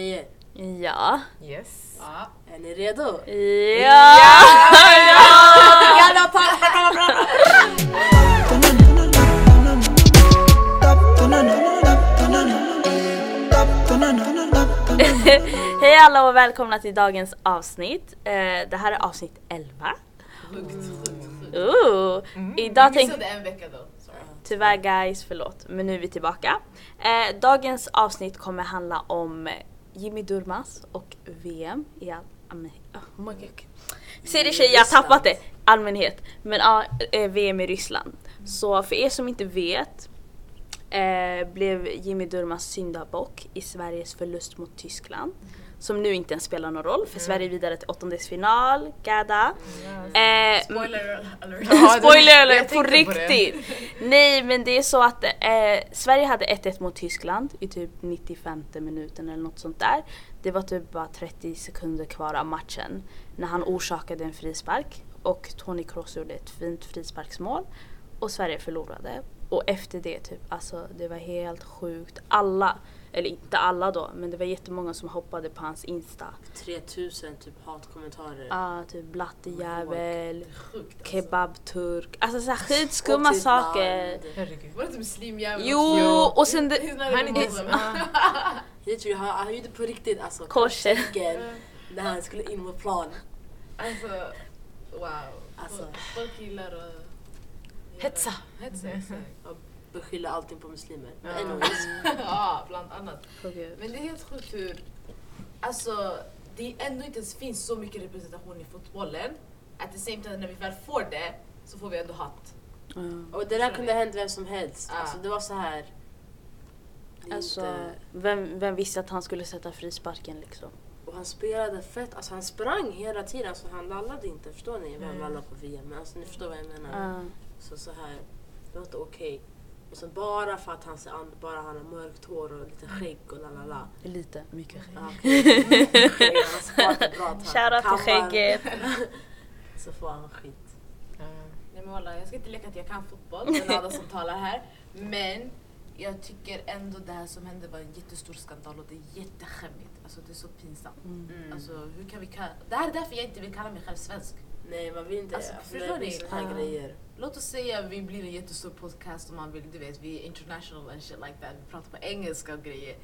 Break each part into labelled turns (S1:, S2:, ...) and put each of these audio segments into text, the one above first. S1: Tjejer,
S2: Ja.
S3: Yes.
S1: är ni redo?
S2: Ja! Hej alla och välkomna till dagens avsnitt. Eh, Det här är avsnitt 11. Ooh. Idag
S3: Vi
S2: tänk...
S3: missade en vecka då. Sorry.
S2: Tyvärr guys, förlåt. Men nu är vi tillbaka. Eh, Dagens avsnitt kommer handla om Jimmy Durmaz och VM i all... allmän- Oh my God. Ser det tjejer, jag har
S1: Ryssland.
S2: tappat det. Allmänhet. Men ja, eh, VM i Ryssland. Så för er som inte vet eh, blev Jimmy Durmaz syndabock i Sveriges förlust mot Tyskland. Som nu inte ens spelar någon roll för Sverige är vidare till åttondelsfinal, gada. Eh,
S3: Spoiler alert.
S2: Spoiler
S3: Jag
S2: alert, på
S3: tänkte på det.
S2: riktigt! Nej men det är så att eh, Sverige hade 1-1 mot Tyskland i typ 95 minuten eller något sånt där. Det var typ bara 30 sekunder kvar av matchen när han orsakade en frispark och Toni Kroos gjorde ett fint frisparksmål och Sverige förlorade. Och efter det typ, alltså det var helt sjukt. Alla, eller inte alla då, men det var jättemånga som hoppade på hans Insta.
S1: 3000 typ hatkommentarer.
S2: Ah, typ blattejävel,
S3: Sjukt alltså.
S2: kebabturk, alltså såhär
S1: Och
S2: skitskumma
S1: typ
S2: saker.
S1: land.
S3: Herregud. Var det typ inte muslimjävel?
S2: Jo, och sen det-
S3: Han är inte muslim.
S1: Jag tror han- Han gjorde på riktigt alltså.
S2: Korset.
S1: korsäcken, När han skulle in på plan.
S3: Alltså, wow.
S1: Alltså.
S3: Folk- Folk gillar att...
S2: Hetsa.
S3: Hetsa, exakt.
S1: Beskylla allting på muslimer.
S3: Ja.
S1: Anyways.
S3: Ja, bland annat.
S2: Åh, gud.
S3: Men det är helt sjukt hur... Alltså, det ändå inte ens finns så mycket representation i fotbollen. At the same time, när vi väl får det så får vi ändå hat.
S2: Mm.
S1: Och det där kunde hänt vem som helst.
S3: Ja.
S1: Alltså det var så här. Det är
S2: Alltså,
S1: inte...
S2: vem, vem visste att han skulle sätta frisparken liksom?
S1: Och han spelade fett, alltså han sprang hela tiden. Alltså han lallade inte, förstår ni? Vem
S3: Mm.
S1: lallar på VM? Men alltså ni förstår vad jag menar.
S2: Ja.
S1: Så, så här, det var inte okej. Och sen bara för att han ser an- bara han har mörkt hår och lite skägg och la la
S2: Mm.
S1: la.
S2: lite, mycket skägg.
S1: Ja, okej. Skägg, Han har sparat ett bra tag.
S2: Shoutout till
S1: Kammar,
S2: skägget.
S1: Så får han skit.
S3: Nej men walla, jag ska inte leka att jag kan fotboll, det är alla som talar här. Men jag tycker ändå det här som hände var en jättestor skandal och det är jätteskämmigt. Alltså det är så pinsamt.
S2: Mm.
S1: Mm.
S3: Alltså hur kan vi kalla... Det här är därför jag inte vill kalla mig själv svensk.
S1: Nej man vill inte,
S3: Alltså,
S1: alltså,
S3: förstår
S1: det blir
S3: ni?
S1: såna här
S2: Ja.
S1: grejer.
S3: Låt oss säga att vi blir en jättestor podcast om man vill, du vet vi är international and shit like that. Vi pratar på engelska och grejer.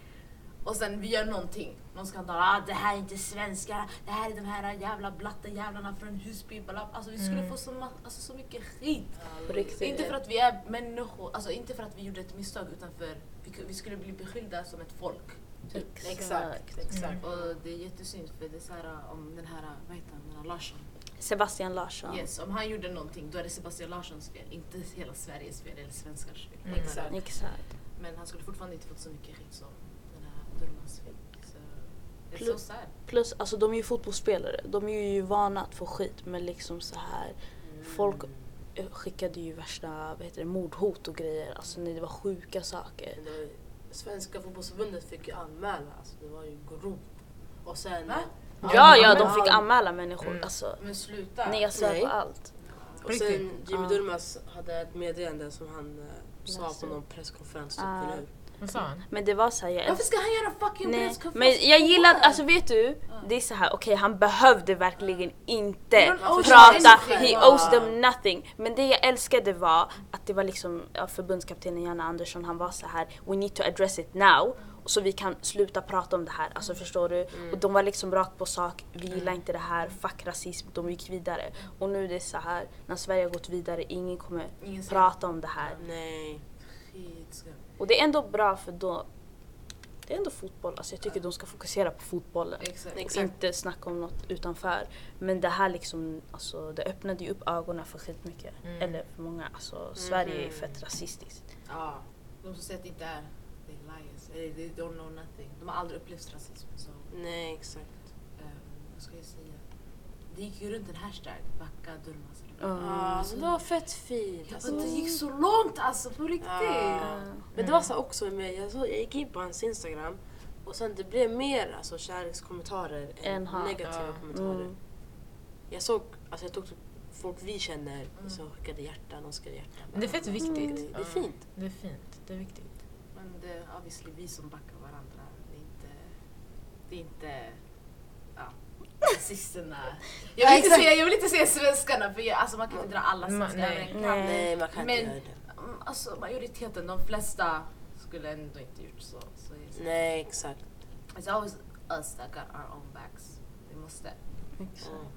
S3: Och sen vi gör någonting, någon skandal. Ah, det här är inte svenskar, det här är de här jävla blatta jävlarna från Husby. bla. Alltså vi skulle få så, ma- alltså, så mycket skit.
S2: Mm. På riktigt.
S3: Inte för att vi är människor, alltså inte för att vi gjorde ett misstag utan för vi, ku- vi skulle bli beskyllda som ett folk.
S2: Typ. Exakt.
S1: Exakt.
S3: Och det är jättesynd för det är så här om den här, vad heter han, den här Larsson?
S2: Sebastian Larsson.
S3: Yes, om han gjorde någonting då är det Sebastian Larssons fel, inte hela Sveriges fel eller svenskars fel.
S4: Mm.
S3: Exakt.
S2: Exakt.
S3: Men han skulle fortfarande inte fått så mycket skit som den här Durmaz fick. Så det är så
S2: Plus-
S3: sad.
S2: Plus, alltså de är ju fotbollsspelare. De är ju vana att få skit men liksom så här Folk eh, skickade ju värsta vad heter det, mordhot och grejer. Alltså nej, det var sjuka saker.
S1: Men det var ju- Mm. Svenska fotbollsförbundet fick ju anmäla, alltså det var ju grovt. Och sen... eh,
S3: Va?
S2: Ja, ja,
S3: Ja,
S2: de
S3: men-
S2: fick anmäla människor.
S4: Mm.
S2: Alltså,
S3: Men sluta!
S2: nej, jag svär
S1: Nej.
S2: på allt.
S1: Och sen
S4: Riktigt?
S1: Jimmy
S2: Ja.
S1: Durmaz hade ett meddelande som han eh, sa
S2: Läste.
S1: på någon presskonferens typ
S2: Ja.
S1: nu.
S4: Vad sa han?
S2: Men det var så här, jag
S3: Varför ska han göra fucking
S2: Nej,
S3: presskonferens?
S2: men jag gillar,
S3: Why?
S2: alltså vet du, det är så här, okej han behövde verkligen inte
S3: Men han owes
S2: prata,
S3: them nothing.
S2: he owes them nothing. Men det jag älskade var att det var liksom ja, förbundskaptenen Janne Andersson, han var så här, we need to address it now. Så vi kan sluta prata om det här, alltså förstår du? Och de var liksom rakt på sak, vi gillar inte det här, fuck rasism, de gick vidare. Och nu är det så här, när Sverige har gått vidare, ingen kommer
S3: Ingen ska-
S2: prata om det här.
S1: Nej.
S3: Skit ska-
S2: Och det är ändå bra för då, det är ändå fotboll, alltså jag tycker de ska fokusera på fotbollen
S3: Exakt.
S1: Exakt.
S2: och inte snacka om något utanför. Men det här liksom, alltså, det öppnade ju upp ögonen för skitmycket.
S1: Mm.
S2: Eller för många. Alltså, Sverige är fett rasistiskt.
S3: Ja. De som säger att det inte är, they liars. Eller they don't know nothing. De har aldrig upplevt rasism. Så,
S2: Mm.
S1: Nej exakt.
S3: ehm, vad ska jag säga? Det gick ju runt en hashtag, backa Ah, Durmaz. eller vad.
S2: Mm.
S1: Ja, alltså, det var fett fint.
S3: Ja,
S1: Alltså,
S3: men det gick så långt alltså, på riktigt!
S1: Ja. Men det var så här också med, jag, så, jag gick in på hans instagram och sen det blev mer alltså, kärlekskommentarer än
S2: Än hat.
S1: negativa
S4: Ja.
S1: kommentarer.
S2: Mm.
S1: Jag såg, alltså jag tog typ folk vi känner som skickade hjärtan och skrev hjärtan. Mm.
S4: Men det är fett viktigt.
S1: Det är fint.
S4: Det är fint. Det är viktigt.
S3: Men det är obviously vi som backar varandra. Det är inte Det är inte... Ja. Nazisterna. Jag vill, inte
S1: exakt.
S3: säga, jag vill inte säga svenskarna för jag, alltså man kan inte dra alla
S4: Ma-
S3: svenskar över
S4: nej.
S3: en kam.
S2: Nej.
S1: Nej, man kan
S3: Men-
S1: inte göra det.
S3: Mm, Alltså majoriteten, de flesta skulle ändå inte gjort så. så it's-
S1: Nej, exakt.
S3: It's always us that got our own backs. Vi måste.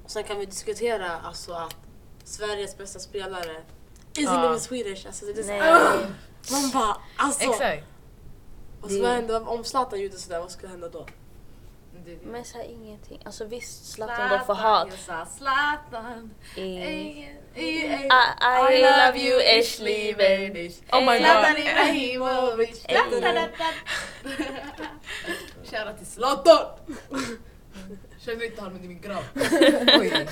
S1: Och sen kan vi diskutera alltså att Sveriges bästa spelare isn't
S4: Ja.
S1: even Swedish. Alltså, det är så,
S2: Nej.
S1: man bara, alltså.
S4: Exakt.
S1: Vad skulle hända om Zlatan gjorde sådär? Vad skulle hända då?
S3: Det är det.
S2: Men såhär ingenting. Alltså visst Zlatan då får hat.
S3: Jag sa Zlatan.
S2: I,
S3: Ingen- I, I,
S2: I love you Ashley Benish.
S4: Oh my
S3: Zlatan
S4: god.
S3: Ibrahimovic.
S2: Ey.
S3: Shoutout till Zlatan! Känner inte honom i min grav.
S4: Oj.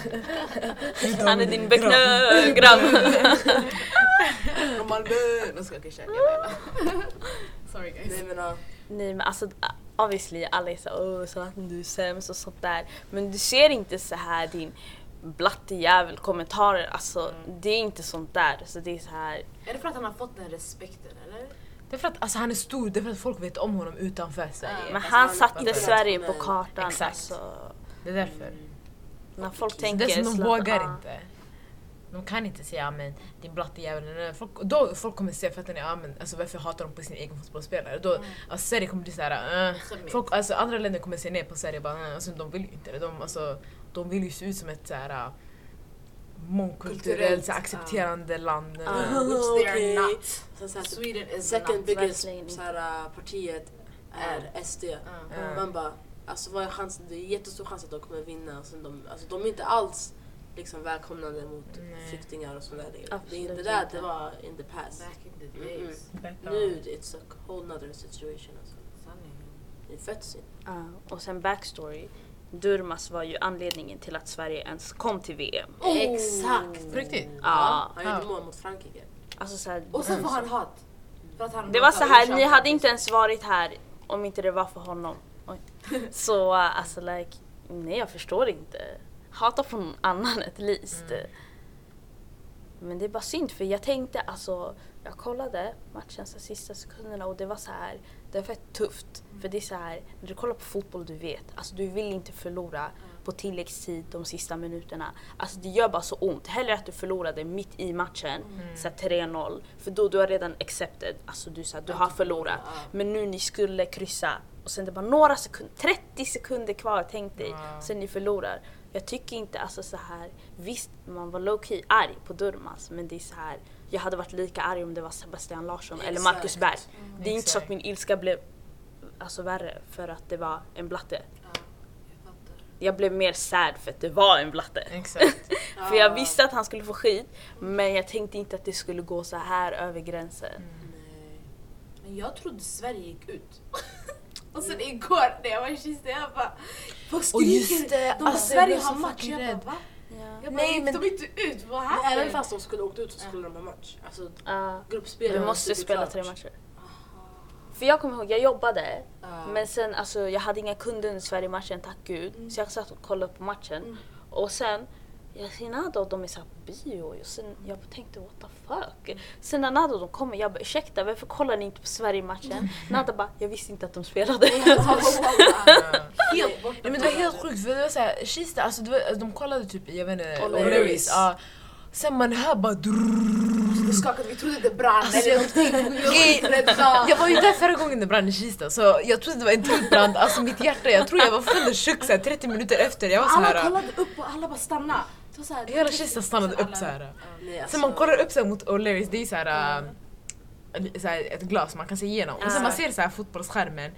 S2: Han är din beknögrabb.
S3: Från Malmö. Nu ska jag kanske jag Sorry guys.
S1: Nej men äh, ja.
S2: Nej men alltså obviously alla är såhär åh Zlatan du är sämst och sånt där. Men du ser inte så här din blattejävel kommentarer. Alltså det är inte sånt där. Så det är så här.
S3: Är det för att han har fått den respekten eller?
S4: Det är för att alltså, han är stor, det är för att folk vet om honom utanför
S3: Ah.
S4: Sverige.
S2: Men
S1: Alltså,
S2: han
S1: han
S2: satte
S1: bara-
S2: Sverige på kartan.
S4: Exakt.
S2: Alltså,
S4: Det är därför.
S2: när folk
S4: Det
S2: tänker
S4: är som de
S2: Zlatan,
S4: vågar
S2: ah.
S4: inte. De kan inte säga "Ja, men din blatte jävel. nej, nej." Folk, då folk kommer säga för att den är, "Ja, men alltså, varför hatar de på sin egen fotbollsspelare?
S3: Ah.
S4: Då,
S3: Mm.
S4: alltså, Sverige kommer bli såhär, eh.
S3: Som-
S4: folk, alltså, andra länder kommer se ner på Sverige bara, "Eh." alltså, de vill ju inte det. De, alltså, de vill ju se ut som ett såhär, mångkulturellt,
S3: Kulturellt,
S4: så här, accepterande land.
S2: Ja.
S3: Which they
S1: Okej.
S3: are not.
S1: Sen så här, typ,
S3: Sweden is
S1: second
S3: not.
S1: biggest
S2: verkligen inte.
S1: så här, äh, partiet är SD.
S3: Ja.
S4: Ja.
S1: Man bara, alltså vad är chansen? Det är jättestor chans att de kommer vinna. Sen de, alltså, de är inte alls liksom välkomnande mot
S4: Nej.
S1: flyktingar och sådär. Det är
S2: Absolut
S1: inte där
S2: inte.
S1: det var in the past.
S3: Back in the days.
S1: Nu it's a whole nother situation. Alltså.
S3: Mm-hmm. Sanningen.
S1: Det föds in.
S2: Ja, och sen backstory. Durmas var ju anledningen till att Sverige ens kom till VM.
S3: Oh.
S1: Exakt!
S4: På riktigt?
S2: Ja.
S1: Han gjorde
S4: Ja.
S1: mål mot Frankrike.
S2: Alltså så här,
S3: Och sen får han hat. För att han
S2: det var så här, ni
S3: orsakar-
S2: hade inte ens varit här om inte det var för honom. Oj. Så uh, alltså like, nej jag förstår inte. Hata på någon annan at least. Men det är bara synd för jag tänkte alltså, jag kollade matchens sista sekunderna och det var så här, det var fett tufft. För det är så här, när du kollar på fotboll du vet, alltså du vill inte förlora på tilläggstid de sista minuterna. Alltså det gör bara så ont. Hellre att du förlorade mitt i matchen, så här 3-0, för då du har redan accepted, alltså du, så här, du har förlorat. Men nu ni skulle kryssa och sen det var några sekunder, 30 sekunder kvar tänk dig,
S4: Wow.
S2: sen ni förlorar. Jag tycker inte alltså så här. visst man var low key arg på Durmaz men det är så här. jag hade varit lika arg om det var Sebastian Larsson eller
S1: Exakt.
S2: Marcus Berg. Det är inte så att
S4: Exakt.
S2: min ilska blev alltså värre för att det var en blatte.
S3: Ja, jag fattar.
S2: Jag blev mer sad för att det var en blatte.
S4: Exakt.
S2: För jag visste att han skulle få skit men jag tänkte inte att det skulle gå så här över gränsen.
S1: Nej.
S3: Men jag trodde Sverige gick ut. Och sen igår när jag var i Kista, jag bara... Folk
S4: Och just
S3: skriker!
S4: det,
S3: De bara
S4: alltså, jag
S3: Sverige
S4: blev
S3: har
S4: så
S3: match.
S4: fucking
S3: Jag
S4: rädd.
S3: bara va?
S2: Ja.
S3: Jag bara,
S4: Nej,
S3: gick
S4: men-
S3: de inte ut? Vad
S1: Men
S3: hände?
S1: även fast de skulle åkt ut så skulle de ha match. Alltså
S2: Ja.
S1: gruppspel.
S2: Vi
S1: var
S2: måste
S1: typ
S2: spela
S1: klart.
S2: tre matcher. För jag kommer ihåg, jag jobbade
S3: Ja.
S2: men sen alltså jag hade inga kunder under Sverige-matchen tack gud.
S3: Mm.
S2: Så jag satt och kollade på matchen. Och sen, jag ser Nado och de är såhär på bio och sen jag bara tänkte what the fuck. Sen när Nado och de kommer jag bara ursäkta varför kollar ni inte på Sverige-matchen? Nado bara jag visste inte att de spelade.
S3: Helt borta.
S4: Nej men det var helt sjukt för det var såhär, Kista, alltså, det var, alltså de kollade typ i, jag vet inte,
S1: O'Learys.
S4: O'Learys. ja. Sen man hör bara drrrr.
S3: Vi skakade, vi trodde det brann eller någonting. Vi var
S4: Gay.
S3: skiträdda.
S4: Jag var ju där förra gången det brann i Kista så jag trodde det var en till brand, alltså mitt hjärta, jag tror jag var full av chock såhär 30 minuter efter. Jag var
S3: Alla
S4: såhär,
S3: kollade upp och alla bara stannade. Det var så här-
S4: hela Kista stannade upp såhär.
S1: Nej, alltså,
S4: Sen man kollar upp såhär mot O'Learys, det är såhär, äh, såhär ett glas man kan se igenom. Och sen man ser såhär fotbollsskärmen,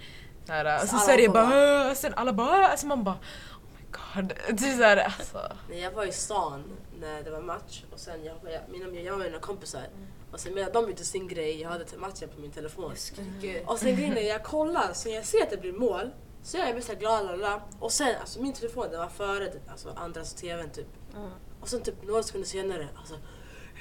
S4: såhär, och
S1: Så
S4: så
S1: alla
S4: Sverige
S1: hoppar
S4: bara "Åh", sen alla bara "Åh", sen man bara oh my god. Det är såhär alltså.
S1: När jag var i stan när det var match och sen jag, jag, mina, jag och mina kompisar och sen medan de gjorde sin grej, jag hade till matchen på min telefon.
S3: Skriker.
S1: Och sen grejen är, jag kollar, så när jag ser att det blir mål så jag är mest glad lalala. och sen alltså min telefon den var före det- alltså andras tvn typ. Och sen typ några sekunder senare alltså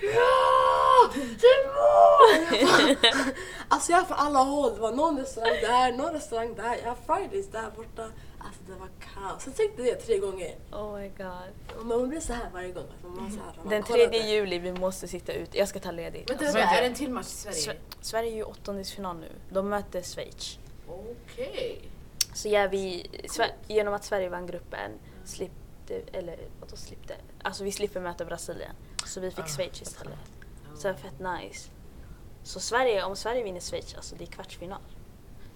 S1: Ja! Det är mål! Jag bara- alltså jag är från alla håll, det var någon restaurang där, någon restaurang där, jag har Fridays där borta. Alltså det var kaos. Sen tänkte jag det tre gånger.
S2: oh my god.
S1: Och Man blir så här varje gång. att Man så här, man
S2: Den
S1: kollar
S2: 3
S1: det.
S2: juli vi måste sitta ut, jag ska ta ledigt.
S3: Vänta,
S4: Alltså,
S3: vänta,
S4: vänta.
S3: är det en till match i Sverige?
S2: Sve- Sverige är ju åttondelsfinal nu, de möter Schweiz.
S3: Okej.
S2: Så gör vi, Sve- genom att Sverige vann gruppen, slipte, eller vadå slipte? Alltså vi slipper möta Brasilien. Så vi fick
S4: Ah,
S2: Schweiz
S4: okej.
S2: istället. Så det var fett nice. Så Sverige, om Sverige vinner Schweiz, alltså det är kvartsfinal.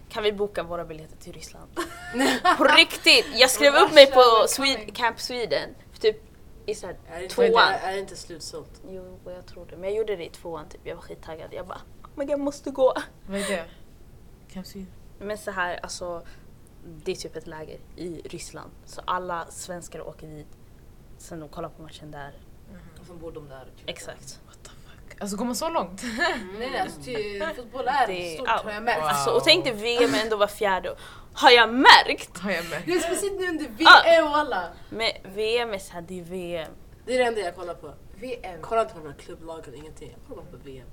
S2: Kan vi boka våra biljetter till Ryssland? på riktigt! Jag skrev upp mig på
S3: Russia,
S2: Swe-
S3: coming.
S2: Camp Sweden, för typ i såhär
S1: Är det, inte,
S2: tvåan.
S1: är det inte slutsålt?
S2: Jo, jag tror det. Men jag gjorde det i tvåan typ, jag var skittaggad. Jag bara oh my god, jag måste gå.
S4: Vad är det? Kanske
S2: Men så här, alltså det är typ ett läger i Ryssland. Så alla svenskar åker dit, sen de kollar på matchen där.
S3: Och sen bor de där. Typ.
S2: Exakt.
S4: What the fuck? Alltså går man så långt?
S3: Nej, nej, alltså, ty, fotboll är
S2: Mm. Det-
S3: stort
S2: ja.
S3: har jag märkt.
S4: Wow.
S2: Alltså, och tänk dig VM ändå var fjärde. Har jag märkt?
S4: Har jag märkt.
S3: Det är speciellt nu under
S2: Ah.
S3: VM walla.
S2: Men VM är såhär, det är VM.
S1: Det är det enda jag kollar på.
S3: VM.
S1: Jag kollar inte på de här klubblagen, ingenting. Jag kollar bara på VM.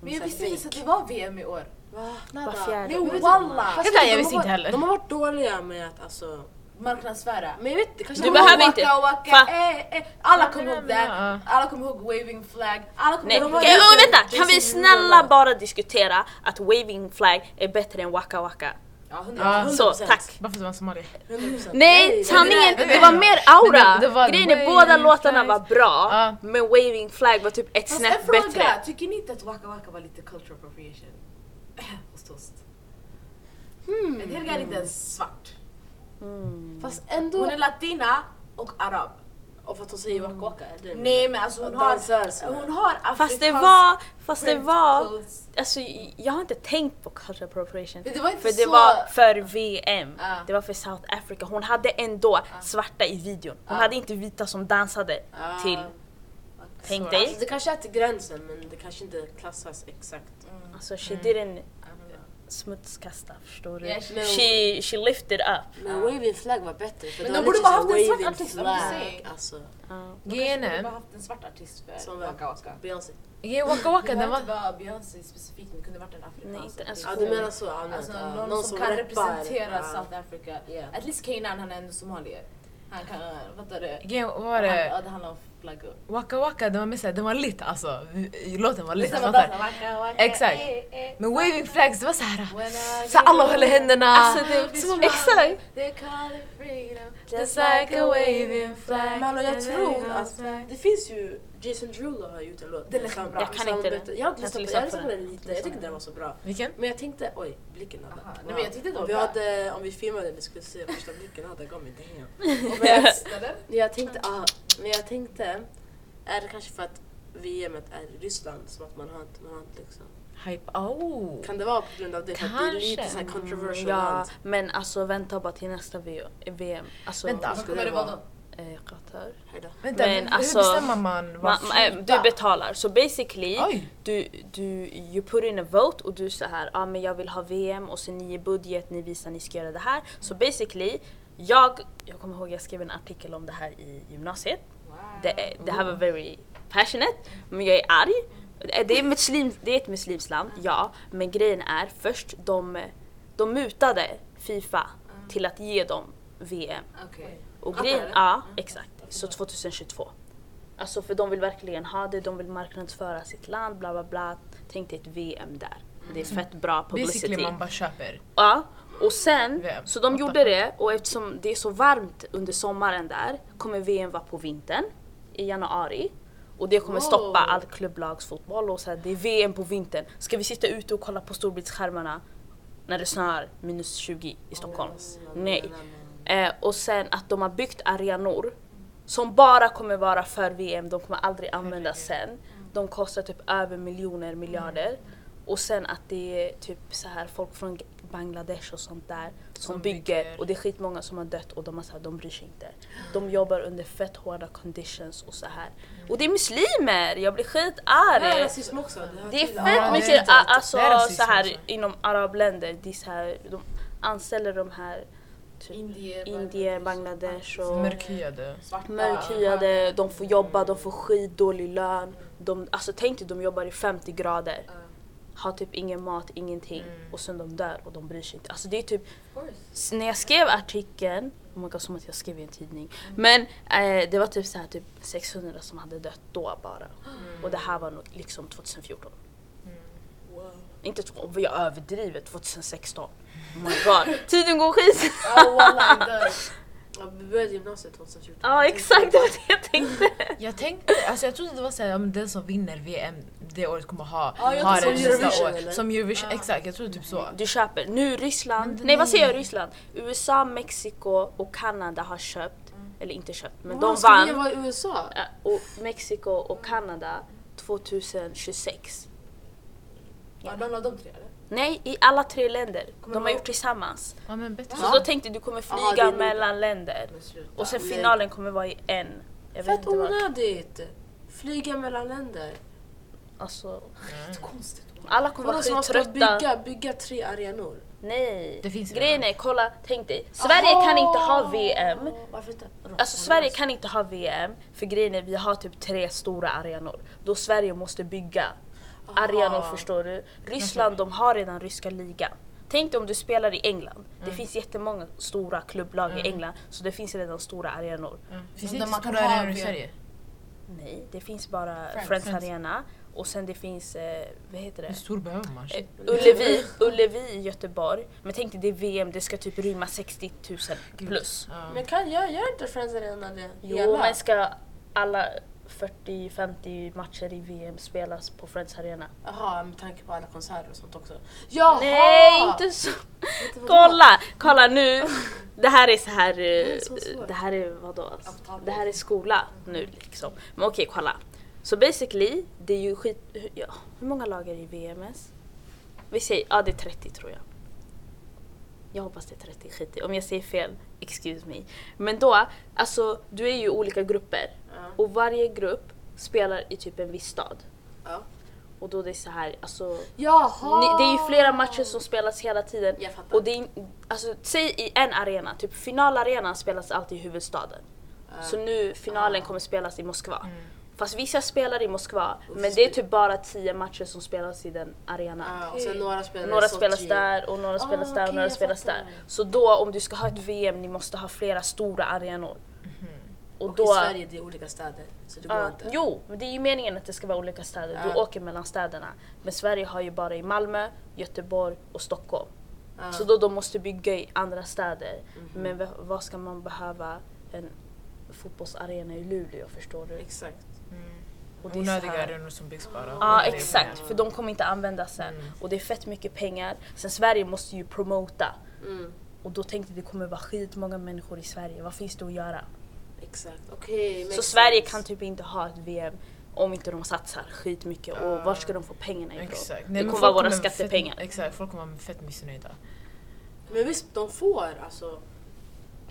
S3: Men jag
S1: Så
S3: visste
S1: fake.
S3: inte ens att det var VM i år.
S1: Va?
S2: Var
S1: Nada.
S2: fjärde
S3: Nej
S2: år.
S3: walla!
S4: Helt ärligt, jag visste inte heller.
S1: De har varit dåliga med att alltså...
S3: Marknadsföra.
S1: Men jag vet, det kanske
S2: Du
S1: var-
S2: behöver inte-
S3: Waka, waka,
S2: Fa-
S3: eh, eh. Alla
S4: Ja,
S3: kommer
S4: men
S3: ihåg
S4: jag
S3: det.
S4: menar,
S3: Alla kommer ihåg waving flag. Alla kommer
S2: Nej,
S3: ihåg...
S2: kan,
S1: var ju
S2: oh,
S1: inte-
S2: vänta! Kan vi
S1: Jason
S2: snälla
S1: Derulo.
S2: bara diskutera att waving flag är bättre än waka waka?
S3: Ja,
S4: Ja.
S3: hundra.
S2: Så,
S1: 100%.
S2: tack.
S4: Varför var han somalier?
S1: 100%.
S2: Nej, sanningen,
S4: nej,
S2: det
S4: nej.
S2: var mer
S4: Men det- det
S2: aura!
S4: var
S2: Grejen är
S4: waving
S2: båda låtarna
S4: flag.
S2: var bra,
S4: Ja.
S2: men waving flag var typ ett
S3: Fast en
S2: snäpp
S3: fråga.
S2: bättre.
S3: Tycker ni inte att Waka Waka var lite cultural appropriation? Hos Toast. Men Helga är inte ens svart.
S1: Fast
S3: Hon
S1: ändå...
S3: är latina och arab.
S1: Och för att hon säger waka waka? är det-
S3: Nej men alltså hon
S1: Och
S3: har...
S1: dansar så.
S3: Hon har afrikansk...
S2: Fast det var, fast det
S3: print
S2: var,
S3: clothes.
S2: alltså jag har inte tänkt på cultural appropriation.
S3: Men det var inte
S2: För det
S3: så...
S2: var för VM,
S3: Ja.
S2: det var för South Africa. Hon hade ändå svarta i videon. Hon
S3: Ja.
S2: hade inte vita som dansade
S1: Ah.
S2: till. Tänk
S4: Så.
S2: dig.
S1: Alltså, det kanske är till gränsen men det kanske inte klassas exakt.
S2: Alltså she didn't
S3: I don't know.
S2: smutskasta förstår du.
S3: Mm. Yeah, she-
S2: she, she lifted up.
S1: Men waving flag var bättre. För
S3: Men
S1: det var
S3: de borde
S1: liksom
S3: bara haft en svart
S1: waving
S3: artist, I'm just saying.
S1: Alltså,
S4: Grejen
S3: Kanske borde ha
S4: är,
S3: haft en svart artist för
S1: som
S3: Waka Waka.
S1: vem? Beyoncé.
S4: grejen Waka Waka
S3: Det
S4: den
S3: var
S4: var...
S3: inte bara Beyoncé specifikt, men det kunde varit en afrikansk.
S2: Nej, inte ens
S1: Ja
S3: artist.
S1: du menar så, ja, men,
S3: Alltså,
S1: ja,
S3: någon, som, kan
S1: rappar.
S3: representera
S1: Ja.
S3: South Africa.
S1: Yeah.
S3: At least Kanan, han är ändå somalier. Han kan, fattar du?
S4: Grejen var
S3: Han-
S4: det,
S3: Ja, det handlar om flaggor.
S4: Waka Waka den var mer såhär, den var lit alltså. Låten var lit.
S3: Lyssna på
S4: fattar?
S3: dansen. Waka, waka,
S4: Exakt.
S3: eh, eh.
S4: Men waving flags det var såhär,
S3: When I
S4: så alla håller
S3: get
S4: händerna.
S2: Alltså, det-
S4: Så man-
S2: exakt!
S3: They call it freedom.
S2: Just like a
S3: waving flag.
S1: Men hallå, jag tror att det finns ju, Jason Derulo har gjort en låt.
S3: Den är skitbra.
S2: Jag kan inte
S1: den.
S2: den.
S1: Jag har inte
S2: Jag
S1: lyssnat på
S2: lyssnar
S1: den, jag
S2: på
S1: lyssnade på
S2: den.
S1: den lite, jag tyckte den var så bra.
S4: Vilken?
S1: Men jag tänkte, oj blicken hade.
S3: Aha, nej, men jag tyckte det var
S1: om, vi
S3: bra.
S1: hade, om vi filmade den skulle se första blicken hade gav mig inte hem.
S3: Och berättade.
S1: Jag tänkte, ah, men jag tänkte, är det kanske för att VM är i Ryssland som att man har inte, man har inte liksom.
S4: Hype, oh.
S1: Kan det vara på grund av det? För att det är lite
S4: Kanske.
S1: såhär controversial
S2: Ja,
S1: land.
S2: men alltså vänta bara till nästa VO VM. Alltså,
S4: Vänta.
S3: Vad kommer det vara då?
S2: Eh, Qatar.
S1: Hejdå.
S4: Vänta,
S2: Men
S4: hur
S2: alltså-
S4: bestämmer man
S2: Ma,
S4: vad
S2: ma, eh, du betalar, så basically
S4: Oj!
S2: du, du, you put in a vote och du så här, ja ah, men jag vill ha VM och sen ni i budget, ni visar ni ska göra det här. Så basically, jag, jag kommer ihåg jag skrev en artikel om det här i gymnasiet. Det, är- det här var very passionate, men jag är arg. Eh, Det är, muslim, det är ett muslimsland, ja. Men grejen är först de, de mutade Fifa
S4: Mm.
S2: till att ge dem VM.
S3: Okej.
S2: Och
S3: Att
S2: grejen,
S3: det är det?
S2: ja
S4: Mm.
S2: exakt. Så 2022. Alltså för de vill verkligen ha det, de vill marknadsföra sitt land, bla bla bla. Tänk dig ett VM där. Det är fett bra
S4: Mm. Basically
S2: publicity.
S4: man bara köper.
S2: Ja. Och sen,
S4: VM.
S2: så de
S4: What the
S2: gjorde det och eftersom det är så varmt under sommaren där kommer VM vara på vintern i januari. Och det kommer
S1: Wow.
S2: stoppa all klubblagsfotboll och så här, det är VM på vintern. Ska vi sitta ute och kolla på storbildsskärmarna när det snöar minus 20 i Stockholm? Nej. Eh, och sen att de har byggt arenor som bara kommer vara för VM, de kommer aldrig användas sen. De kostar typ över miljoner, miljarder. Och sen att det är typ så här folk från Bangladesh och sånt där som,
S4: Som
S2: bygger.
S4: bygger.
S2: och det är skitmånga som har dött och de, har så här, de bryr sig inte. De jobbar under fett hårda conditions och så här. Och det är muslimer! Jag blir
S1: Det här är
S4: alltså,
S2: skitarg!
S1: rasism också. Det, hör
S2: Det är
S1: till.
S4: det
S2: fett
S4: är
S2: mycket
S4: inte
S2: a-
S4: allt.
S2: alltså,
S4: Det är
S2: så
S4: rasism
S2: här
S4: också.
S2: inom arabländer, de, är så här, de anställer de här typ,
S3: Indier,
S2: indier, Bangladesh och
S4: Mörkhyade.
S3: Svarta.
S2: mörkhyade, de får jobba, de får skitdålig lön. De, alltså tänk dig de jobbar i 50 grader,
S3: Ja,
S2: har typ ingen mat, ingenting och sen de dör och de bryr sig inte. Alltså det är typ,
S3: of course.
S2: s- när jag skrev artikeln, oh my God, som att jag skrev i en tidning, men eh, det var typ så här, typ 600 som hade dött då bara. Och det här var nog liksom 2014.
S1: Wow.
S2: Inte två, vi har överdrivit 2016. Oh my god. Tiden går skit.
S3: Ja
S1: Oh,
S3: wallah it does.
S1: Ja, vi började gymnasiet 2014.
S2: Ja exakt, det var det jag tänkte.
S4: Jag tänkte, alltså jag trodde det var såhär, ja, men den som vinner VM det året kommer ha,
S3: Ja, jag
S4: ha
S3: tror
S4: det
S3: som
S4: nästa
S1: Eurovision,
S4: år.
S1: eller?
S4: Som Eurovision, exakt jag trodde typ så.
S2: Du köper, nu Ryssland,
S1: Mm.
S2: nej vad säger jag Ryssland? USA, Mexiko och Kanada har köpt, eller inte köpt men de
S1: ska
S2: vann.
S1: vi vara i USA?
S2: Ja, Och Mexiko och Kanada 2026.
S3: Ja, någon av de tre eller?
S2: Nej, i alla tre länder.
S3: Kommer
S2: De har
S3: de-
S2: gjort tillsammans.
S4: Ja men bättre.
S2: Så då tänkte jag, du kommer
S1: Aha, det är
S2: flyga
S1: nog-
S2: mellan länder.
S3: Men sluta.
S2: Och sen
S1: nej.
S2: finalen kommer vara i en. Jag vet
S1: Fett
S2: inte Mm. vad.
S1: onödigt! Flyga mellan länder.
S2: Alltså,
S3: Så konstigt.
S2: alla kommer
S1: Vadå
S2: vara
S1: som man ska
S2: skittrötta.
S1: bygga, bygga tre arenor?
S2: Nej.
S4: Det finns
S2: Grejen
S4: redan.
S2: är, kolla, tänk dig. Sverige kan inte ha VM.
S1: Varför inte?
S2: Alltså Sverige kan inte ha VM för grejen är vi har typ tre stora arenor. Då Sverige måste bygga arenor förstår du. Ryssland de har redan ryska ligan. Tänk dig om du spelar i England. Det finns jättemånga stora klubblag i England så det finns redan stora arenor.
S4: Finns det
S3: Där
S4: inte
S3: man kan
S4: stora
S3: ha
S4: arenor i
S3: VM.
S4: Sverige?
S2: Nej, det finns bara Friends,
S4: Friends.
S2: Arena och sen det finns, eh, vad heter
S4: Hur
S2: det?
S4: stor behöver man?
S2: Eh, Ullevi, Ullevi i Göteborg. Men tänk dig det är VM, det ska typ rymma 60 000 plus.
S4: Ja.
S1: Men kan jag, gör inte Friends Arena det?
S2: Jo,
S1: Hela?
S2: men ska alla 40-50 matcher i VM spelas på Friends Arena?
S1: Jaha, med tanke på alla konserter och sånt också. Jaha!
S2: Nej, inte så!
S1: vadå?
S2: Kolla! Kolla nu! Det här är så här... eh,
S1: så svårt.
S2: Det här är vadå? alltså?
S3: Avtal.
S2: Det här är skola nu liksom. Men okej, kolla. Så basically, det är ju skit... hur- Ja, hur många lag är det i VMS? Vi säger, ja det är 30 tror jag. Jag hoppas det är 30, skit i. Om jag säger fel, excuse me. Men då, alltså du är ju i olika grupper.
S1: Ja.
S2: Och varje grupp spelar i typ en viss stad.
S1: Ja.
S2: Och då det är så här, alltså...
S1: Jaha!
S2: Ni, det är ju flera matcher som spelas hela tiden.
S1: Jag fattar.
S2: Och det är, in- alltså, säg i en arena, typ finalarenan spelas alltid i huvudstaden. Så nu finalen kommer spelas i Moskva.
S1: Mm.
S2: Fast vissa spelar i Moskva, men det är typ bara tio matcher som spelas i den arenan.
S1: Ja, och sen några spelar i
S2: Några
S1: Sochi.
S2: spelas där och några spelas där
S1: typ. Ah,
S2: och
S1: okej,
S2: några
S1: jag
S2: spelas
S1: fattar.
S2: där. Så då om du ska ha ett VM, ni måste ha flera stora arenor. Och
S1: Mhm. Och i Sverige det är olika städer, så det går
S2: Ja,
S1: inte.
S2: Ah,
S1: Ah.
S2: Jo, men det är ju meningen att det ska vara olika städer. Du
S1: Ja.
S2: åker mellan städerna. Men Sverige har ju bara i Malmö, Göteborg och Stockholm.
S1: Ja.
S2: Så då de måste bygga i andra städer.
S1: Mhm.
S2: Men v- vad ska man behöva en fotbollsarena i Luleå förstår du?
S1: Exakt.
S2: Och det är så
S4: Onödiga
S2: här-
S4: arenor som byggs bara.
S2: Ja
S4: Onödiga
S2: exakt, för de kommer inte användas sen.
S1: Mm.
S2: Och det är fett mycket pengar. Sen Sverige måste ju promota.
S1: Mm,
S2: Och då tänkte jag det kommer vara skitmånga människor i Sverige, vad finns det att göra?
S1: exakt. Okej,
S2: Så
S1: makes
S2: Sverige
S1: sense.
S2: kan typ inte ha ett VM om inte de satsar skitmycket och var ska de få pengarna ifrån?
S4: Exakt.
S2: det
S4: men
S2: kommer
S4: folk
S2: vara våra
S4: fett-
S2: skattepengar.
S4: Exakt, folk kommer vara fett missnöjda.
S1: Men visst, de får alltså...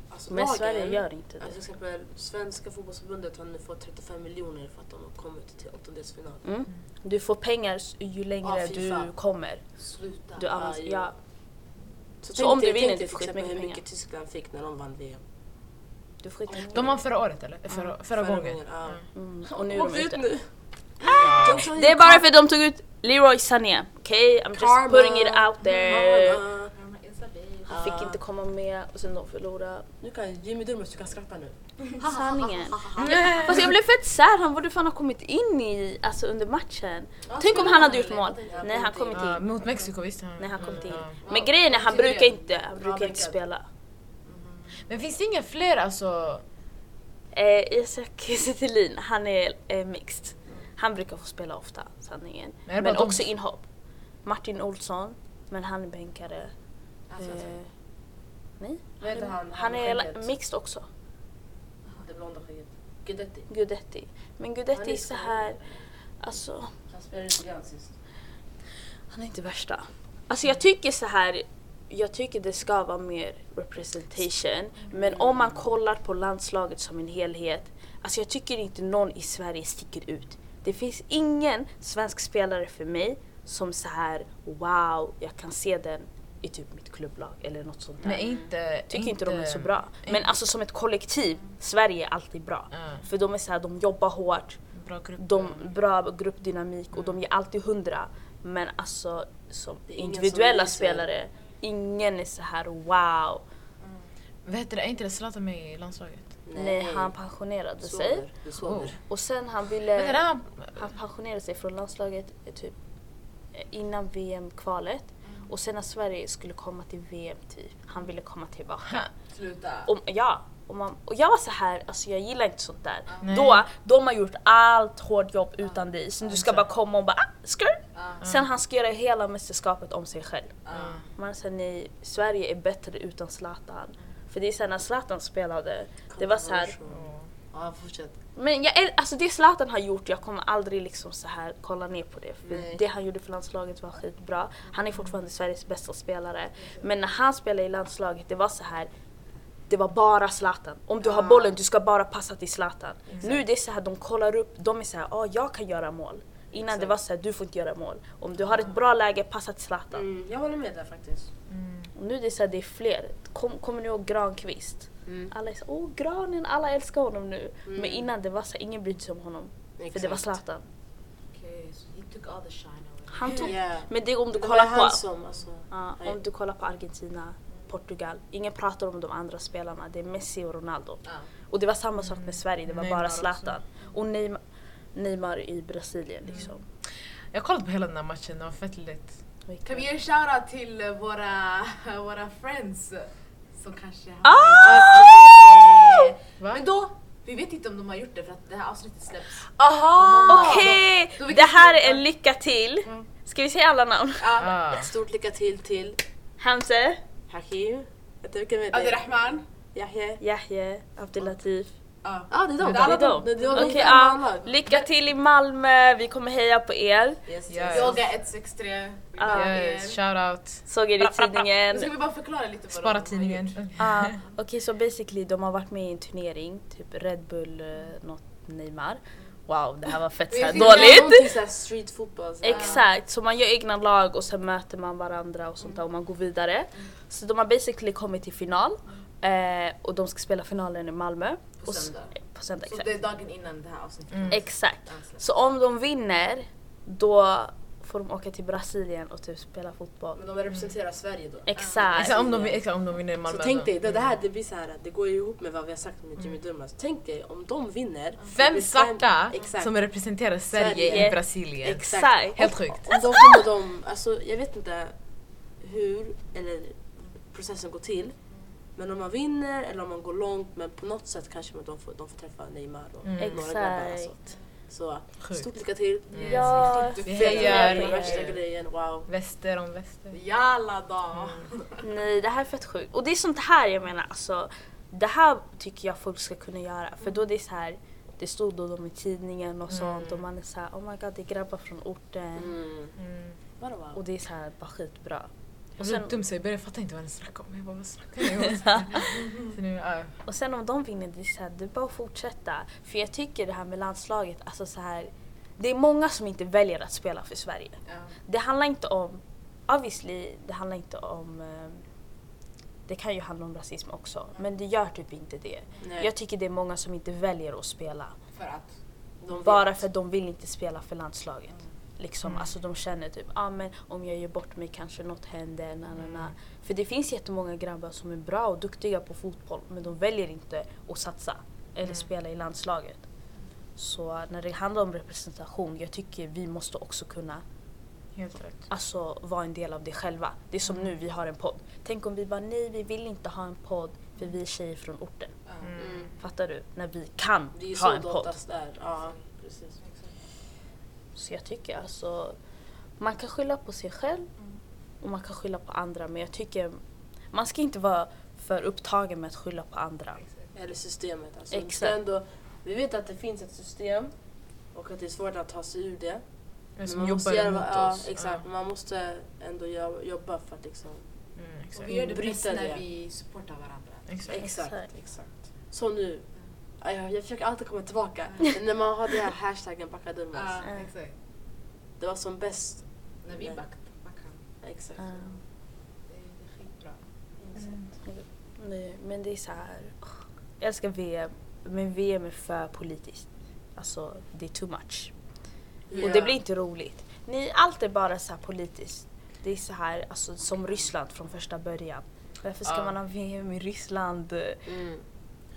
S1: alltså
S2: Men
S1: lagen-
S2: Sverige gör inte det.
S1: Alltså, till exempel Svenska fotbollsförbundet har nu fått 35 miljoner för att de har kommit till åttondelsfinal.
S2: Mm. Du får pengar s- ju längre
S1: Ja, fy fan.
S2: du kommer.
S1: Sluta.
S2: Du använder,
S1: jo.
S2: ja,
S1: Så,
S2: Så
S1: tänk
S2: om
S1: dig-
S2: du vinner,
S1: tänk dig
S2: du
S1: till
S2: får
S1: exempel
S2: skitmycket
S1: hur mycket Tyskland fick när de vann VM.
S2: du får skita
S4: De vann förra året eller? Förra, förra, gången.
S1: ja.
S2: mm. Och nu är
S1: Åkte
S2: de
S1: ut
S2: ute. Ah!
S1: nu. De som
S2: Det är
S1: gick
S2: bara för att de tog ut Leroy Sané. Okej, I'm just
S1: Karma.
S2: putting it out there.
S1: Karma.
S2: Han fick inte komma med och sen de förlorade.
S1: Nu kan Jimmy Durmaz, du kan skratta nu.
S2: Sanningen. Fast jag blev fett sär, han borde fan ha kommit in i, alltså under matchen. Tänk om han hade gjort mål. Nej, han kom inte
S4: Ja,
S2: in.
S4: mot Mexiko visst. han-
S2: Nej han kom inte in.
S4: ja.
S2: Men grejen är han
S3: Tur det.
S2: brukar inte, han brukar
S1: men
S2: inte
S1: gud.
S2: spela.
S4: Men finns det inga fler alltså?
S2: Eh, Isak Kiese han är eh, mixed. Han brukar få spela ofta, sanningen.
S4: Men är det
S2: Men,
S4: bara de-
S2: också inhopp. Martin Olsson, men han är bänkare.
S4: Alltså,
S2: Eh, nej,
S1: Vad heter han?
S2: han är
S1: med
S2: la-
S1: skägget?
S2: mixed också.
S1: Det blonda skägget. Guidetti.
S2: Gudetti. Men
S1: Han
S2: Gudetti
S1: är
S2: är så här, alltså
S1: Han spelade lite grann sist.
S2: han är inte värsta. Alltså jag tycker så här jag tycker det ska vara mer representation. Men om man kollar på landslaget som en helhet. Alltså jag tycker inte någon i Sverige sticker ut. Det finns ingen svensk spelare för mig som så här wow, jag kan se den i typ mitt klubblag eller något sånt där.
S4: Men inte...
S2: tycker inte de är så bra. Men alltså som ett kollektiv, Sverige är alltid bra.
S4: Ja.
S2: För de är så här, de jobbar hårt,
S4: Bra grupp.
S2: de bra gruppdynamik och de ger alltid hundra. Men alltså som
S1: är ingen som
S2: individuella
S1: lyser.
S2: spelare, ingen är så här wow.
S4: Vad heter det? Är inte det Zlatan med i landslaget?
S2: Nej, han pensionerade sig.
S1: sover. Du sover.
S4: Oh.
S2: Och sen han
S4: Men är
S2: ville,
S4: han...
S2: han pensionerade sig från landslaget eh, typ innan VM-kvalet och sen när Sverige skulle komma till VM typ, han ville komma tillbaka.
S3: Sluta.
S2: Och, ja, och, man, och jag var så här, alltså jag gillar inte sånt där.
S4: Nej.
S2: Då, de har gjort allt hårt jobb utan dig, så du ska bara
S4: exakt.
S2: komma och bara ah, skrr.
S3: Ja.
S2: Sen han ska göra hela mästerskapet om sig själv.
S3: Ja.
S2: Man säger nej, Sverige är bättre utan Zlatan. För det är såhär när Zlatan spelade, det var så här.
S3: Ja, fortsätt.
S2: Men jag, äl- alltså det Zlatan har gjort, jag kommer aldrig liksom så här kolla ner på det. För
S3: Nej.
S2: det han gjorde för landslaget var skitbra. Han är fortfarande Sveriges bästa spelare. Men när han spelade i landslaget, det var så här. Det var bara Zlatan. Om du har
S3: Ah.
S2: bollen, du ska bara passa till Zlatan. Nu är det så här, de kollar upp, de är så här, ah, jag kan göra mål. Innan det
S4: Exakt.
S2: var så här, du får inte göra mål. Om du har ett bra läge, passa till Zlatan.
S1: Mm, jag håller med där faktiskt.
S2: Och nu är det så här, det är fler. Kom, kommer ni ihåg Granqvist? Alla är så åh granen, alla älskar honom nu. Men innan det var så här, ingen brydde sig om honom. För det var Zlatan.
S3: Okej, så he took all the shine away.
S2: Han tog...
S1: Yeah.
S2: Men det om du
S1: Det var
S2: kollar på...
S1: han som alltså.
S2: Ja, om du kollar på Argentina, Portugal. Ingen pratar om de andra spelarna. Det är Messi och Ronaldo.
S3: Ja.
S2: Och det var samma sak med Sverige. Det var
S4: Neymar
S2: bara
S4: också.
S2: Zlatan. Och Neymar, Neymar i Brasilien liksom.
S4: Jag kollade på hela den här matchen, det var fett lätt.
S3: Kan vi ge en shoutout till eh, våra, våra friends? eh, Som kanske har...
S2: Ah!
S3: Eh,
S4: Va?
S3: Men då, vi vet inte om de har gjort det för att det här avsnittet släpps.
S2: Aha! Okej!
S3: Då- då vi
S2: Det
S3: kan
S2: här
S3: sluta.
S2: är en lycka till.
S3: Mm.
S2: Ska vi säga alla namn?
S3: Ja,
S4: Ah.
S1: Stort lycka till till
S2: Hamze,
S1: Hakim. Jag vet inte vilka med det
S3: Abdirahman.
S1: Yahya.
S2: Yahya, Abdelatif.
S3: Ja.
S1: Ja, det är de.
S3: Det är alla
S2: Det är dem.
S1: Det är de.
S2: Okej,
S1: Det är alla.
S2: ja. lycka till i Malmö. Vi kommer heja på er.
S1: Yes, yes.
S4: Ja.
S3: Yoga 163. vi
S2: Ah.
S3: behöver er.
S4: Yes, shoutout.
S2: Såg er i tidningen.
S3: Nu ska vi bara förklara lite vad de
S4: Spara
S3: har
S4: tidningen.
S3: gjort.
S2: Ja, Okej, så basically de har varit med i en turnering, typ Red Bull, eh, något Neymar. Wow, det här var fett
S3: Vi
S2: så här
S3: fick göra
S2: dåligt!
S1: Någonting såhär street football. såhär.
S2: Exakt, så man gör egna lag och sen möter man varandra och sånt där och man går vidare. Så de har basically kommit till final eh, och de ska spela finalen i Malmö.
S3: På
S2: Och s- eh,
S3: söndag.
S2: På söndag,
S3: Så
S2: exakt. Mm.
S3: det är dagen innan det här avsnittet.
S2: Exakt.
S3: Alltså.
S2: Så om de vinner, då får de åka till Brasilien och typ spela fotboll.
S1: Men de representerar Sverige då.
S2: Exakt.
S4: Exakt, om de, exakt, om de vinner i Malmö.
S1: Så tänk
S4: då.
S1: dig, det, det här det blir så här, det går ju ihop med vad vi har sagt med Jimmy Durmaz. Tänk dig om de vinner.
S4: Fem
S1: det blir
S4: svarta
S1: Exakt.
S4: som representerar Sverige,
S1: Sverige.
S4: i Brasilien.
S1: Exakt.
S4: Helt sjukt.
S1: Om de kommer de, alltså jag vet inte hur eller processen går till. Men om man vinner eller om man går långt men på något sätt kanske de får, de får träffa Neymar och några grabbar. Alltså.
S2: Exakt.
S1: Så
S4: Sjukt.
S1: stort lycka till.
S2: Ja.
S3: Sjukt.
S4: Vi
S1: Fett
S4: hejar
S1: med
S4: er.
S1: den värsta grejen, wow.
S4: Väster om väster.
S3: Jalla dag!
S2: Nej, det här är fett sjukt. Och det är sånt här jag menar, alltså. Det här tycker jag folk ska kunna göra. För då det är så här, det stod då de i tidningen och sånt och man är så här, oh my god det är grabbar från orten.
S1: Mm. Bara
S2: Och
S1: wow.
S2: det är så här, bara skitbra.
S4: Jag
S2: Och
S4: blev
S2: sen,
S4: dum så jag började fatta inte vad ni snackade om. Jag bara, vad snackar ni om? Så nu, ja.
S2: och sen om de vinner, det är så här, det är bara att fortsätta. För jag tycker det här med landslaget, alltså så här, det är många som inte väljer att spela för Sverige.
S3: Ja.
S2: Det handlar inte om, obviously, det handlar inte om eh, det kan ju handla om rasism också, men det gör typ inte det.
S1: Nej.
S2: Jag tycker det är många som inte väljer att spela.
S3: För att
S1: De vet. Mm.
S2: Bara för att de vill inte spela för landslaget. Liksom, alltså de känner typ, ah, men om jag gör bort mig kanske något händer, na, na,
S1: Mm.
S2: na. För det finns jättemånga grabbar som är bra och duktiga på fotboll men de väljer inte att satsa eller
S1: Mm.
S2: spela i landslaget. Så när det handlar om representation, jag tycker vi måste också kunna
S4: Helt rätt.
S2: alltså, vara en del av det själva. Det är som
S1: Mm.
S2: nu, vi har en podd. Tänk om vi bara, nej vi vill inte ha en podd för vi är tjejer från orten.
S1: Mm.
S2: Fattar du? När vi kan
S1: Det är ju
S2: ha
S1: så
S2: en
S1: det
S2: podd.
S1: oftast är. Ja, precis.
S2: Så jag tycker alltså, man kan skylla på sig själv
S1: Mm.
S2: och man kan skylla på andra men jag tycker man ska inte vara för upptagen med att skylla på andra.
S1: Eller systemet. Alltså,
S2: Exakt.
S1: Exakt. Ändå, vi vet att det finns ett system och att det är svårt att ta sig ur det.
S4: Men
S1: man
S4: som
S1: måste
S4: jobbar
S1: göra-
S4: emot
S1: ja,
S4: oss.
S1: Exakt, men man måste ändå jo- jobba för att liksom...
S4: Ja. Mm,
S3: Och
S4: exakt.
S3: vi gör det
S1: Bryta
S3: bäst när
S1: det.
S3: vi supportar varandra.
S4: exakt.
S1: Exakt,
S2: Exakt.
S1: exakt. Så nu. Ja, Jag, jag försöker alltid komma tillbaka. Men när man har den här hashtaggen backa dummas.
S3: Ja,
S2: Mm.
S3: exakt.
S1: Det var som bäst.
S3: När vi
S1: Nej.
S3: back- backar.
S1: Exakt.
S2: Ja.
S3: Det är det är skitbra. Mm.
S2: Nej, men det är så här. åh, Jag älskar VM, men VM är för politiskt. Alltså, det är too much. Och det blir inte roligt. Ni, allt är bara så här politiskt. Det är så här, alltså, som Ryssland från första början. Varför ska
S4: Ja.
S2: man ha VM i Ryssland?
S1: Mm.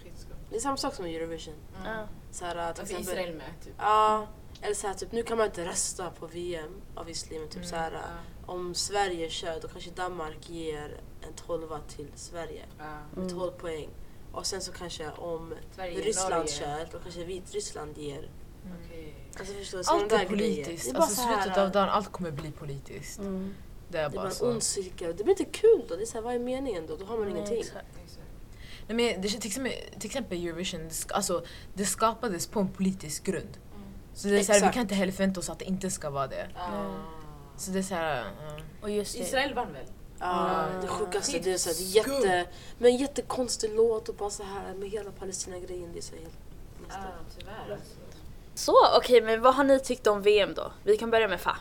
S3: Skitskumt.
S1: Det är samma sak som med Eurovision.
S2: Ja.
S1: Så här, till
S3: Varför är
S1: exempel,
S3: Israel med? Typ.
S1: ja, Eller så här, typ, nu kan man inte rösta på VM obviously, men typ
S3: Mm,
S1: så här, om Sverige kör då kanske Danmark ger en tolva till Sverige
S3: Ja.
S1: med
S4: Mm.
S1: 12 poäng. Och sen så kanske om
S3: Sverige,
S1: Ryssland
S3: Norge.
S1: kör då kanske Vitryssland ger.
S3: Okej.
S1: Alltså förstår du? sådana
S4: Allt
S1: där
S4: Mm. är
S1: grejer. Det
S4: politiskt.
S1: är bara
S4: Alltså
S1: så här,
S4: slutet av dagen, alltså. allt kommer bli politiskt.
S2: Mm.
S4: Det är
S1: Det är bara
S4: bara
S1: en
S4: så.
S1: ond cirkel. Det blir inte kul då. Det är så här, vad är meningen då? Då har man
S2: Nej,
S1: ingenting.
S2: exakt.
S3: Exakt.
S4: Nej, men det, till, exempel, till exempel Eurovision, det, sk- alltså, det skapades på en politisk grund.
S3: Mm.
S4: Så det är så här, vi
S1: Exakt.
S4: kan inte heller förvänta oss att det inte ska vara det.
S3: Ah.
S4: Så det är så här, ja.
S2: Och just det.
S3: Israel vann väl?
S1: Ja,
S4: Ja.
S1: det sjukaste det är så här, det är
S4: Skumt.
S1: jätte, men jättekonstig låt och bara så här med hela Palestina-grejen. Det är så här helt nästan.
S3: Ah, tyvärr. alltså.
S2: Så okej, men vad har ni tyckt om VM då? Vi kan börja med Fa.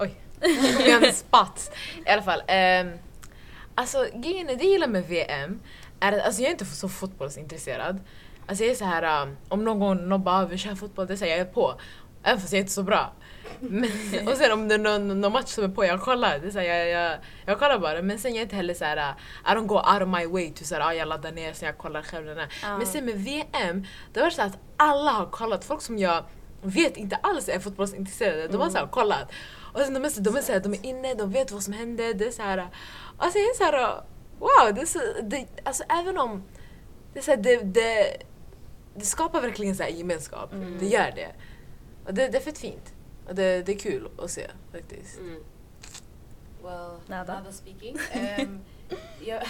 S4: Oj, vi har en spats. I alla fall. Um, alltså grejen är- det jag gillar med VM är att alltså, jag är inte så fotbollsintresserad. Alltså jag är så här ehm, om någon, någon bara vi kör fotboll, det är så här, jag är på. Även fast jag är inte så bra. Men, och sen om det är någon, någon match som är på, jag kollar. Det är så här, jag, jag, jag kollar bara. Men sen jag är inte heller så här, eh, I don't go out of my way to så här, ah, jag laddar ner så jag kollar själv. Den här.
S2: Ja.
S4: Men sen med VM, det var så här att alla har kollat. Folk som jag vet inte alls är fotbollsintresserade, de har så här kollat. Och sen de är, så, de, är så här, de är inne, de vet vad som hände. Det är så här, alltså jag är så här, wow! Det är så, det, alltså även om det, är så här, det, det, det skapar verkligen så här gemenskap, det gör det. Och det, det är fett fint. Och det, det är kul att se faktiskt.
S1: Mm.
S3: Well,
S2: Nada.
S3: Nada speaking. Ehm, jag,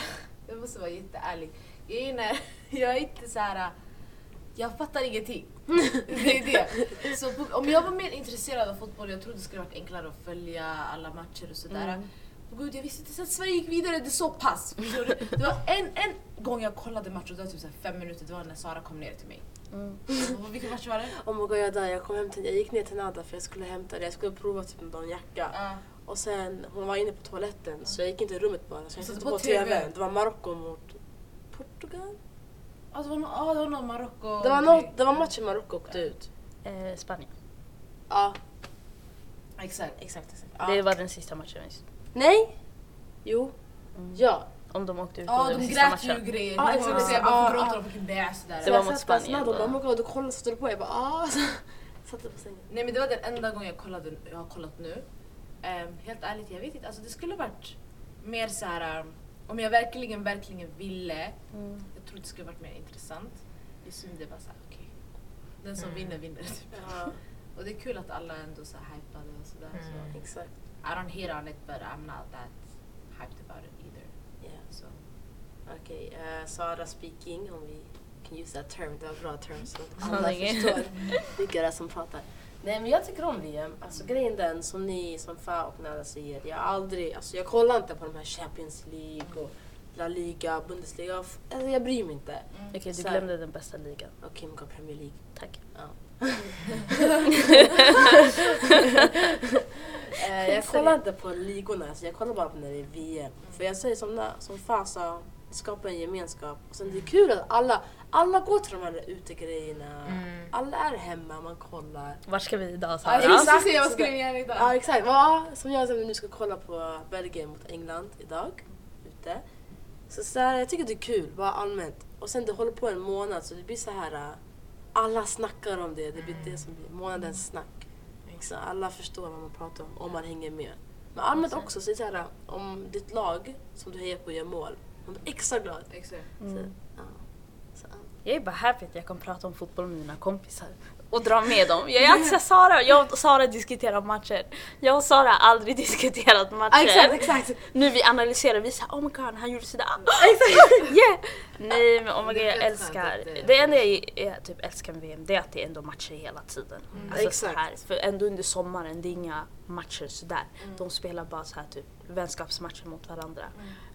S3: jag måste vara jätteärlig. Jag är, när, jag är inte så här. Jag fattar ingenting. Det är det. Så på, om jag var mer intresserad av fotboll, jag trodde det skulle varit enklare att följa alla matcher och sådär.
S1: Mm.
S3: Och gud, jag visste inte ens att Sverige gick vidare, det är så pass. Förstår du? Det var en, en gång jag kollade match och det var typ så här fem minuter, det var när Sara kom ner till mig. Och vilken match var det?
S1: Oh my god, jag dör. Jag, kom hem till, jag gick ner till Nada för jag skulle hämta det. Jag skulle prova typ någon jacka.
S3: Ja.
S1: Och sen, hon var inne på toaletten så jag gick inte i rummet bara. Så jag
S3: Så
S1: satte
S3: på
S1: på,
S3: TV.
S1: TVn. Det var Marocko mot Portugal?
S3: Ja, det var någon, ah, det var någon Marocko...
S1: Det var, något, det var matchen Marocko åkte ut.
S2: Eh, Spanien.
S1: Ja,
S3: Exakt.
S1: exakt. exakt.
S2: Det
S1: Ja.
S2: var den sista matchen vi
S1: Nej! Jo.
S2: Mm.
S1: Ja.
S2: Om de åkte ut
S3: Ja,
S2: under
S3: de
S2: den sista
S3: grät ju
S2: matchen.
S3: och grejer.
S1: Ja,
S3: Ah,
S1: exakt.
S3: exakt. Jag
S1: Ja,
S3: bara,
S1: ja.
S3: varför gråter de? Varför bäs sådär?
S2: Det var mot Spanien
S1: då.
S2: då.
S1: Oh my god, du kollade satte du på? Jag bara ah. Satte på sängen.
S3: Nej men det var den enda gången jag, kollade, jag har kollat nu. Ehm, helt ärligt, jag vet inte. Alltså det skulle varit mer så här. um, om jag verkligen, verkligen ville.
S2: Mm.
S3: Jag tror det skulle varit mer intressant. Det är synd, det är bara såhär, okej. Den som
S4: Mm.
S3: vinner, vinner. Typ.
S1: Ja,
S3: Och det är kul att alla ändå så här hypade och sådär. Så.
S4: Mm.
S1: exakt.
S3: I don't hate on it but I'm not that hyped about it either.
S1: Yeah.
S3: Så.
S1: Okej, eh, Sara speaking, om vi kan use that term. Det var bra term så att
S2: Så
S1: alla
S2: länge.
S1: förstår vilka det är som pratar. Nej men jag tycker om VM. Alltså grejen den som ni, som Fa och Nada säger. Jag har aldrig, alltså jag kollar inte på de här Champions League och La Liga, Bundesliga. Jag f- Alltså jag bryr mig inte.
S3: Mm.
S2: Okej, du
S1: Så-
S2: glömde den bästa ligan.
S1: Okej men gå Premier League.
S2: Tack.
S1: Ja. Eh, jag kollar inte på ligorna, alltså jag kollar bara på när det är VM. För jag säger som, när- som fan sa, det skapar en gemenskap. Och sen det är kul att alla, alla går till de här där utegrejerna.
S4: Mm.
S1: Alla är hemma, man kollar.
S2: Vart ska vi idag
S3: Ja,
S2: Sara?
S3: jag måste
S1: exakt.
S3: se vad skrivningen idag.
S1: Ja exakt, ja, som jag som nu ska kolla på Belgien mot England idag. Ute. Så, så här, jag tycker det är kul, bara allmänt. Och sen det håller på en månad så det blir så här äh, alla snackar om det, det blir det som blir månadens snack. Så alla förstår vad man pratar om, om man hänger med. Men allmänt också, så det är så här, om ditt lag som du hejar på gör mål, man blir extra glad.
S3: Exakt.
S1: Så,
S2: Mm.
S1: ja. Så,
S2: Jag är bara happy att jag kan prata om fotboll med mina kompisar och dra med dem. Jag är alltid såhär, Sara, jag och Sara diskuterar matcher. Jag och Sara har aldrig diskuterat matcher.
S1: ja, Ah, exakt, exakt! Ah,
S2: Nu vi analyserar, vi säger oh my god han gjorde sådär. Exakt! yeah! Nej men oh my
S3: Det
S2: god
S3: är
S2: jag
S3: fett
S2: älskar.
S3: skönt att eh, det-
S2: Det enda jag är, typ älskar med VM det är att det är ändå matcher hela tiden. Alltså så
S1: Mm. Exakt.
S2: här, för ändå under sommaren det är inga matcher sådär.
S1: Mm.
S2: De spelar bara så här typ vänskapsmatcher mot varandra.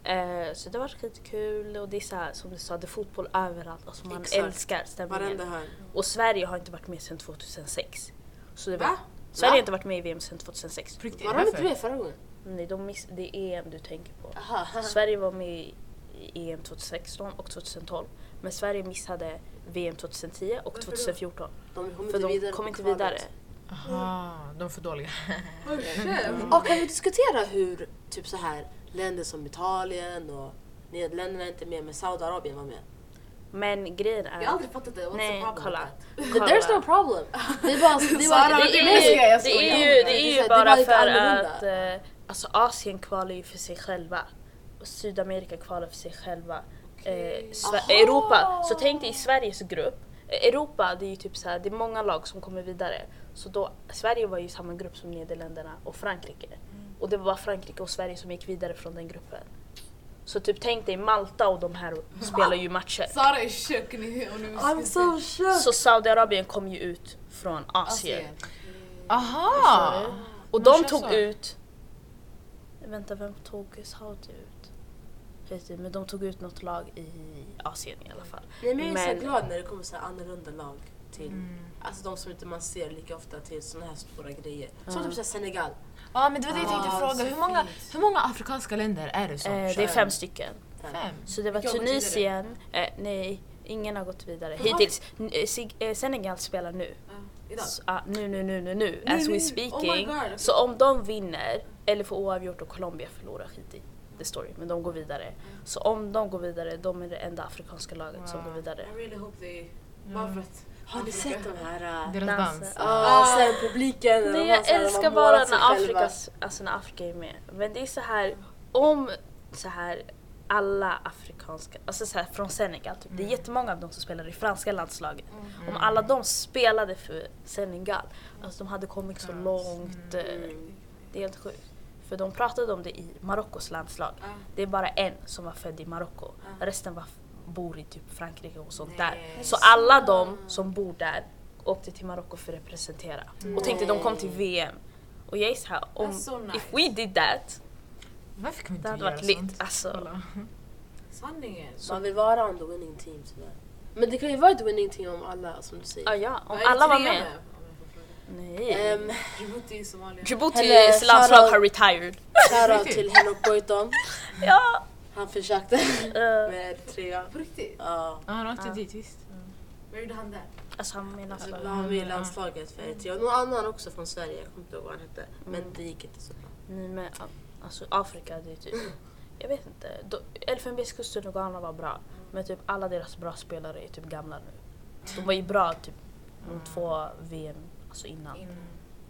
S2: Eh, så det var skitkul och det är så här, som du sa, det är fotboll överallt. Alltså man
S1: Exakt.
S2: älskar stämningen.
S1: Varenda hörn.
S2: Och Sverige har inte varit med sedan 2006. Så det var,
S1: Va?
S2: Sverige
S1: Va?
S2: har inte varit med i VM sedan 2006.
S4: På riktigt,
S1: Var de inte
S4: varför?
S1: med förra gången?
S2: Nej, de miss, det är EM du tänker på.
S1: Aha, aha.
S2: Sverige var med i EM 2016 och 2012. Men Sverige missade VM 2010 och 2014.
S1: De kom
S2: För
S1: inte
S2: de
S1: vidare.
S2: kom
S1: på
S2: inte
S1: kvalet.
S2: vidare.
S4: Aha, de är för dåliga.
S3: oh,
S1: Och kan vi diskutera hur typ så här länder som Italien och Nederländerna är inte med men Saudiarabien var med?
S2: Men grejen är...
S3: Jag har aldrig fattat det. What's
S2: Nej,
S3: the problem?
S2: kolla.
S1: Th- There's no problem. Det är bara... Det är
S3: Sara,
S1: bara
S2: Det
S3: det
S2: är ju,
S3: är- jag
S2: det är
S3: skojar.
S2: ju, det
S3: Det är
S1: så här, det
S2: är ju
S1: är
S2: bara
S1: bara lite
S2: för
S1: annorlunda.
S2: att eh, alltså Asien kvalar ju för sig själva. Och Sydamerika kvalar för sig själva. Eh, Sve-
S3: Aha!
S2: Europa, så tänk dig i Sveriges grupp. Eh, Europa, det är ju typ så här, det är många lag som kommer vidare. Så då, Sverige var ju i samma grupp som Nederländerna och Frankrike. Och det var bara Frankrike och Sverige som gick vidare från den gruppen. Så typ tänk dig Malta och de här spelar ju matcher.
S3: Sara är tjock nu. om ni visste
S1: I'm
S3: inte.
S1: so shook!
S2: Så Saudiarabien kom ju ut från Asien.
S3: Asien.
S4: Aha!
S2: Och
S4: Man
S2: de
S4: kör
S2: tog
S4: så.
S2: ut... Vänta, vem tog Saudi ut? Skit i, Men de tog ut något lag i Asien i alla fall.
S1: Nej, men jag är
S2: Men- Mm.
S1: så glad när det kommer så här annorlunda lag till, alltså de som inte man ser lika ofta till såna här stora grejer. Som typ så här Senegal.
S4: Ja men det var det jag tänkte
S3: Ah, så
S4: fråga, hur många,
S3: fint.
S4: hur många afrikanska länder är det som
S2: Eh, det
S4: kör?
S2: är fem stycken.
S4: Fem?
S2: Så det var
S1: Jag har gått
S2: Tunisien, eh, nej, ingen har gått vidare
S1: Jaha.
S2: hittills. N- eh, Sig- eh, Senegal spelar nu.
S3: Idag.
S2: Så, ah, nu, nu, nu, nu, nu,
S1: Nu, nu, nu.
S2: as we
S1: Oh my
S2: speaking.
S1: God.
S2: så om de vinner, eller får oavgjort och Colombia förlorar, skit i the story, men de går vidare. Så om de går vidare, de är det enda afrikanska laget som
S4: Wow.
S2: går vidare.
S3: I really hope they...
S1: Mm.
S3: Bara för att...
S1: Har ni sett de här... äh,
S4: Deras
S2: Dansen.
S4: dans?
S1: ah, och sen publiken. och
S2: Nej,
S1: de
S2: jag
S1: har så här, de har
S2: älskar bara
S1: målat sig
S2: när
S1: själva.
S2: Afrika, alltså när Afrika är med. Men det är så här, om så här alla afrikanska, alltså så här från Senegal, typ, det är
S1: Mm.
S2: jättemånga av dem som spelar i franska landslaget. Om alla de spelade för Senegal, alltså de hade kommit så långt.
S1: Mm.
S2: eh, Det är helt sjukt. För de pratade om det i Marockos landslag.
S3: Ah.
S2: Det är bara en som var född i Marocko. Resten var, bor i typ Frankrike och sånt där.
S3: Nej. Mm.
S2: Så alla de som bor där åkte till Marocko för att representera. Och tänkte de kom till VM. Och jag är såhär, om
S3: That's so nice.
S2: if we did that,
S4: Varför kan vi
S2: det
S4: inte
S2: hade
S4: göra
S2: varit lit.
S4: sånt?
S2: Alltså,
S4: Kolla.
S3: Sanningen.
S1: Man vill vara on the winning team sådär. Men det kan ju vara ett winning team om alla, som du
S2: ja,
S1: säger.
S2: ja, om
S3: Vad är det
S2: alla var
S3: tre
S2: med.
S3: Om jag får fråga.
S2: Nej.
S1: Ehm,
S3: Djibouti, Somalia.
S2: Djiboutis
S1: Eller
S2: landslag
S1: Charlotte.
S2: har retired.
S1: Shoutout till Henok Goitom.
S2: Ja.
S1: Han försökte
S2: eh,
S1: med trea.
S3: På riktigt?
S1: Ja,
S4: Ja, han åkte dit visst.
S3: Vad gjorde han där?
S2: alltså han var med i
S1: alltså,
S2: landslaget.
S1: han var med i landslaget för Eritrea. Och någon annan också från Sverige, jag kommer inte ihåg vad han hette. Men det gick inte så bra.
S2: Nej men a- alltså Afrika det är typ, jag vet inte. Då- Elfenbenskusten och Ghana var bra. Men typ alla deras bra spelare är typ gamla nu. De var ju bra typ de två VM, alltså innan.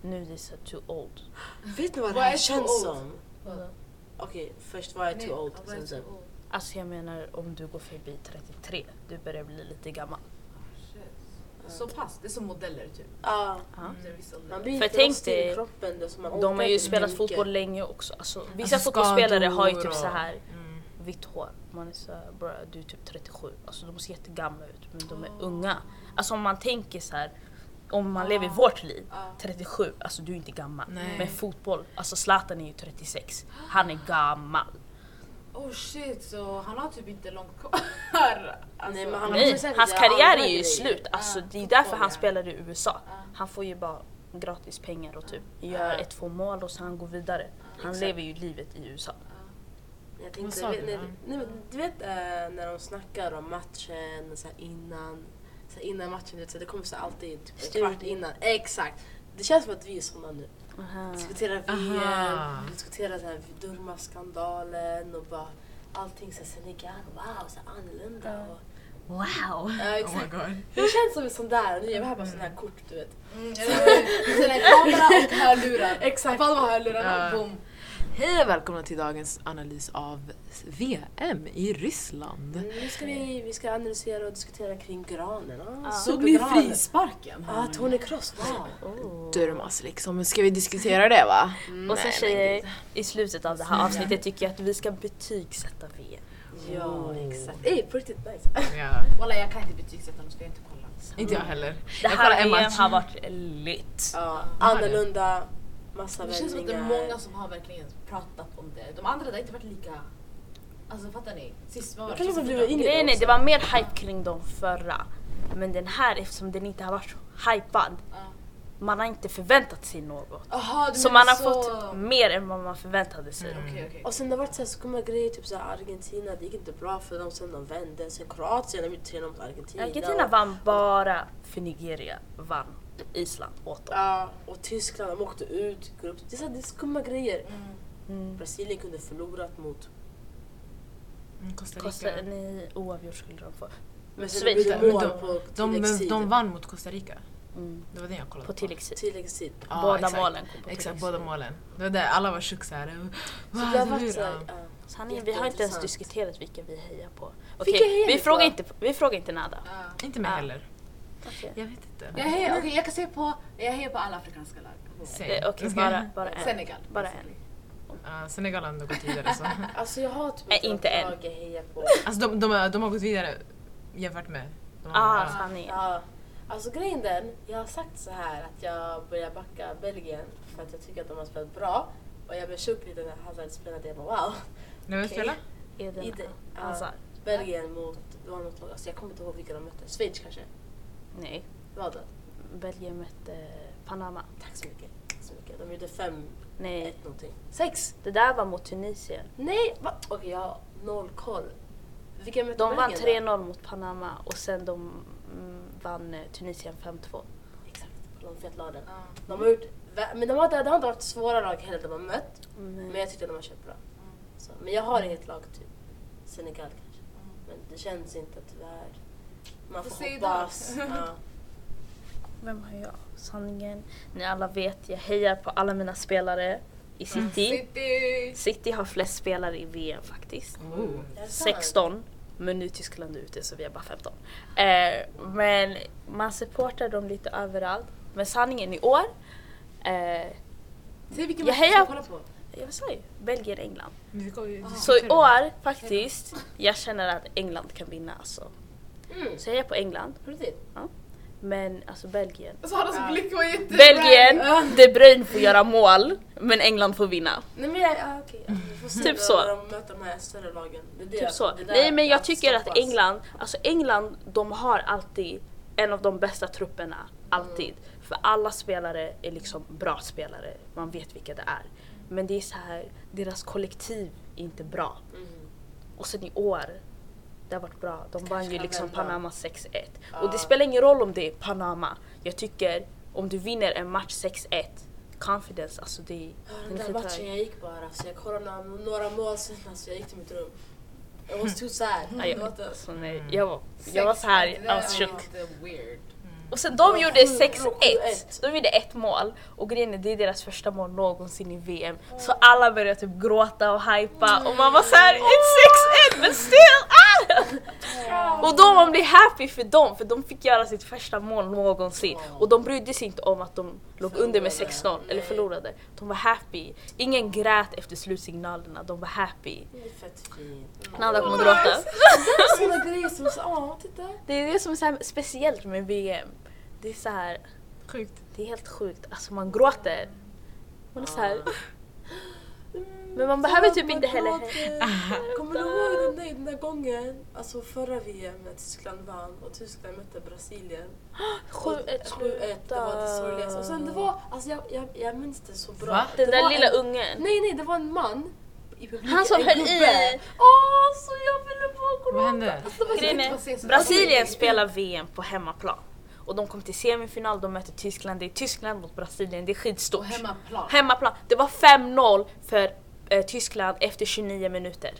S2: Nu är det så too old.
S1: Vet ni vad det
S3: Vad är
S1: här
S3: too
S1: känns
S3: old?
S1: som? Okej, först var jag
S3: Nej,
S1: too old.
S3: jag var
S1: Sen, sen.
S3: too old.
S2: Alltså jag menar om du går förbi 33, du börjar bli lite gammal.
S3: Shit. Så pass, det är som modeller typ.
S1: Ja,
S3: Det är vissa åldrar.
S1: man blir
S2: För
S1: inte
S2: tänk
S1: lost i
S2: dig,
S1: kroppen. Då, så man
S2: De
S1: orkar
S2: har ju
S1: inte
S2: spelat
S1: mycket.
S2: fotboll länge också. Alltså, vissa
S4: Alltså,
S2: fotbollsspelare har ju
S4: skador
S2: typ
S4: och-
S2: så här
S4: Mm.
S2: vitt hår. Man är så här, "Bruh, du är typ 37. Alltså de ser jättegamla ut men de är unga. Alltså om man tänker så här om man lever vårt liv, 37, alltså du är inte gammal.
S4: Nej.
S2: Men fotboll, alltså Zlatan är ju 36, han är gammal.
S3: Oh shit, så han har typ inte långt kvar.
S1: Nej, Ah, men han-
S2: Nej,
S1: kommer säkert
S2: hans
S1: göra
S2: karriär
S1: andra
S2: är ju
S1: grejer.
S2: slut. Alltså
S3: Ah,
S2: det är därför
S3: fotboll,
S2: han
S3: ja.
S2: spelar i USA. Han får ju bara gratis pengar och typ gör ett, två mål och så han går vidare. Han
S1: Ah. Exakt.
S2: lever ju livet i USA.
S1: Jag
S4: Vad
S1: tänkte,
S4: sa
S1: vet,
S4: du
S1: nej,
S4: då?
S1: nej, men du vet eh, när de snackar om matchen så här innan, så här innan matchen, du vet, så här, det kommer så här alltid typ en
S2: Studio.
S1: kvart innan. Exakt! Det känns som att vi är såna nu. Diskuterar
S4: Aha.
S1: VM, diskuterar så här Durma-skandalen och bara allting så här Senegal, wow, så här annorlunda. Och,
S4: Wow!
S1: ja,
S4: Oh my
S1: exakt.
S4: god. Mm.
S1: Det känns som en sån där, nu är vi här bara sån här kort du vet.
S3: Sen en kamera och hörlurar.
S1: Exakt.
S3: Fan vad hörlurarna,
S4: Ja.
S3: boom.
S4: Hej och välkomna till dagens analys av VM i Ryssland.
S1: Mm, Nu ska vi, vi ska analysera och diskutera kring granen. Ah,
S3: Såg ni
S1: supergranen.
S3: frisparken?
S1: Ah, Tony Kroos. Wow.
S2: Ah. Oh.
S4: Durmas liksom, ska vi diskutera det va?
S2: Och sen
S4: Nej,
S2: tjejer, i slutet av det här avsnittet tycker jag att vi ska betygsätta VM.
S1: Ja, exakt. Ey, på riktigt nice.
S4: Ja.
S3: Walla jag kan inte betygsätta honom så jag har inte kollat.
S4: Inte jag heller.
S2: Det
S4: jag kollar
S2: här
S4: en
S2: VM
S4: match.
S2: har varit lit.
S1: Ja, annorlunda, massa
S3: Det känns som att det är
S1: vändningar.
S3: många som har verkligen pratat om det. De andra det har inte varit lika... Alltså fattar ni? Sist vad var
S1: Jag
S3: det?
S1: kanske
S3: Sista
S1: får
S3: veckan?
S1: bjuda in
S2: Grejen är,
S1: också.
S2: det var mer hype kring de förra. Men den här, eftersom den inte har varit så hypad,
S3: Ja.
S2: man har inte förväntat sig något.
S3: Jaha, du
S2: Så
S3: menar
S2: man har
S3: så... Mm.
S2: fått Mm. mer än vad man förväntade sig.
S4: Mm.
S3: Okej, okej.
S1: Och sen det har varit så här skumma grejer, typ så här Argentina, det gick inte bra för dem sen de vände. Sen Kroatien, de gjorde 3-0 mot Argentina.
S2: Argentina vann bara för Nigeria vann Island åt dem.
S1: Ja, och Tyskland, de åkte ut. grupp. Det är, så här, det är skumma grejer.
S2: Mm.
S1: Brasilien kunde förlorat mot...
S4: Mm, Costa Rica.
S2: Kostade ni oavgjort skulle de få.
S1: Men sen det
S2: Schweiz,
S1: blir
S4: men
S1: mål
S4: de-
S1: på
S4: De, de,
S1: tilläggstid.
S4: de vann mot Costa Rica.
S2: Mm.
S4: Det var det jag kollade
S2: På tilläggstid.
S1: Tilläggstid.
S4: Ja,
S2: båda
S4: exakt.
S2: målen kom på
S4: Exakt,
S2: tilläggstid.
S4: båda målen. Det var det, alla var tjock såhär.
S1: Så det har varit såhär, ja.
S2: Sanningen, vi har inte ens
S1: Jätteintressant.
S2: diskuterat vilka vi hejar på.
S1: Vilka
S2: Okej,
S1: hejar
S2: vi,
S1: ni
S2: frågar
S1: på?
S2: inte, vi frågar inte Nada.
S4: Inte mig
S2: Ja.
S4: heller.
S2: Okej,
S4: Ah. Jag vet inte.
S3: Jag hejar, okej, jag kan se på, jag hejar på alla afrikanska lag.
S4: Säg.
S2: Eh, okej, bara, bara en.
S3: Senegal.
S2: Bara en.
S4: Ja, Senegal har ändå gått vidare så.
S1: Alltså jag har typ
S2: Nej, inte
S1: något
S2: än.
S1: lag jag hejar på.
S4: Alltså de, de, har- de har gått vidare jämfört med de
S2: Ah,
S4: andra.
S2: sanningen.
S1: Ja. Alltså grejen den, jag har sagt så här att jag börjar backa Belgien för att jag tycker att de har spelat bra. Och jag blev tjock lite när Hazard spelade, jag bara wow.
S4: När vi
S2: okej.
S4: spelar?
S2: Eden
S1: I det- ja.
S2: Hazard.
S1: Belgien mot, det var något lag, alltså jag kommer inte ihåg vilka de mötte. Schweiz kanske?
S2: Nej,
S1: Vad då?
S2: Belgien mötte eh, Panama.
S1: Tack så mycket. Tack så mycket. De gjorde 5-1
S2: Nej,
S1: någonting. 6!
S2: det där var mot Tunisien.
S1: Nej! Va? Okej jag har noll koll. Vilka mötte
S2: De vann
S1: Belgien då?
S2: 3-0 mot Panama och sen de mm, vann eh, Tunisien 5-2.
S1: Exakt, de fet lagen.
S3: Ja.
S1: De har gjort, vä- men de har, det har inte varit svåra lag heller de har mött.
S2: Mm.
S1: Men jag tyckte de har kört bra.
S3: Mm.
S1: Så, men jag har inget lag typ Senegal kanske.
S3: Mm.
S1: Men det känns inte tyvärr. Man
S3: Får
S1: får
S3: se idag.
S1: hoppas. Ja.
S2: Vem har jag? Sanningen. Ni alla vet, jag hejar på alla mina spelare i
S1: Mm.
S2: City.
S3: City!
S2: City har flest spelare i VM faktiskt.
S4: Oh.
S1: Är det sant?
S2: 16. Men nu är Tyskland ute så vi är bara 15. Eh, men man supportar dem lite överallt. Men sanningen i år, eh,
S3: Säg vilken
S2: Jag
S3: match du
S2: hejar-
S3: ska kolla på.
S2: jag sa ju Belgien-England.
S4: Vi går ju-
S2: Så i år faktiskt, jag känner att England kan vinna alltså.
S1: Mm.
S2: Så jag är på England,
S1: På riktigt?
S2: men alltså Belgien.
S3: Saras blick var jätte...
S2: Belgien, De Bruyne får göra mål, men England får vinna.
S1: Nej men jag, ja, okej. ja, vi får se
S2: Typ
S1: när
S2: så.
S1: de möter de här större lagen. Det är det,
S2: Typ så.
S1: det där
S2: Nej men jag
S1: att
S2: tycker att
S1: stoppas.
S2: England, alltså England de har alltid en av de bästa trupperna. Alltid.
S1: Mm.
S2: För alla spelare är liksom bra spelare, man vet vilka det är. Men det är så här, deras kollektiv är inte bra.
S1: Mhm.
S2: Och sen i år, det har varit bra. De vann ju
S1: kan
S2: liksom
S1: vända.
S2: Panama 6-1.
S1: Ja.
S2: Och det spelar ingen roll om det är Panama. Jag tycker om du vinner en match 6-1, confidence alltså det är...
S1: Ja, Den
S2: den
S1: där
S2: är
S1: matchen jag gick bara, så jag kollade några, några mål sen, alltså jag gick till mitt rum. I was too sad.
S2: Ja, jag,
S1: Låt oss-
S2: alltså, nej, jag, var, jag var så här,
S3: Sex,
S2: jag var
S3: det
S2: chock.
S3: där är lite weird.
S2: Och sen de gjorde 6-1.
S1: 7-1.
S2: De gjorde ett mål. Och grejen är, det är deras första mål någonsin i VM. Så alla började typ gråta och hypa och man var såhär ett 6-1 men still! Ah! Och då man blir happy för dem för de fick göra sitt första mål någonsin. Och de brydde sig inte om att de låg under med 6-0 eller
S1: Nej.
S2: förlorade. De var happy. Ingen grät efter slutsignalerna, de var happy.
S1: Det är fett fint.
S2: Nanda kommer gråta.
S1: Det
S3: Alltså,
S1: är såna grejer som, så- ja titta.
S2: Det är det som är så här speciellt med VM. Det är så här,
S4: Sjukt.
S2: Det är helt sjukt, alltså man gråter. Man är så här.
S1: Ah.
S2: Men man behöver typ inte heller...
S1: heller... Kommer du ihåg den där, den där gången, alltså förra VM när Tyskland vann och Tyskland mötte Brasilien?
S2: Sju,
S1: Och
S2: ett,
S1: 7-1, det var det sorgligaste. Och sen det var, alltså jag, jag, jag minns det så bra.
S4: Va?
S1: Det
S2: Den där
S1: var
S2: lilla
S1: en,
S2: ungen.
S1: Nej nej, det var en man. i publiken,
S2: Han som
S1: en
S2: höll
S1: gubbe.
S2: i.
S1: Åh, så jag ville bara
S4: Vad
S1: gråta.
S4: hände?
S1: Alltså, det var så
S2: Grejen
S1: fint.
S2: är, Brasilien spelar VM på hemmaplan. Och de kom till semifinal, de möter Tyskland. Det är Tyskland mot Brasilien, det är
S3: På
S2: skitstort.
S3: hemmaplan.
S2: Hemmaplan. Det var 5-0 för eh, Tyskland efter 29 minuter.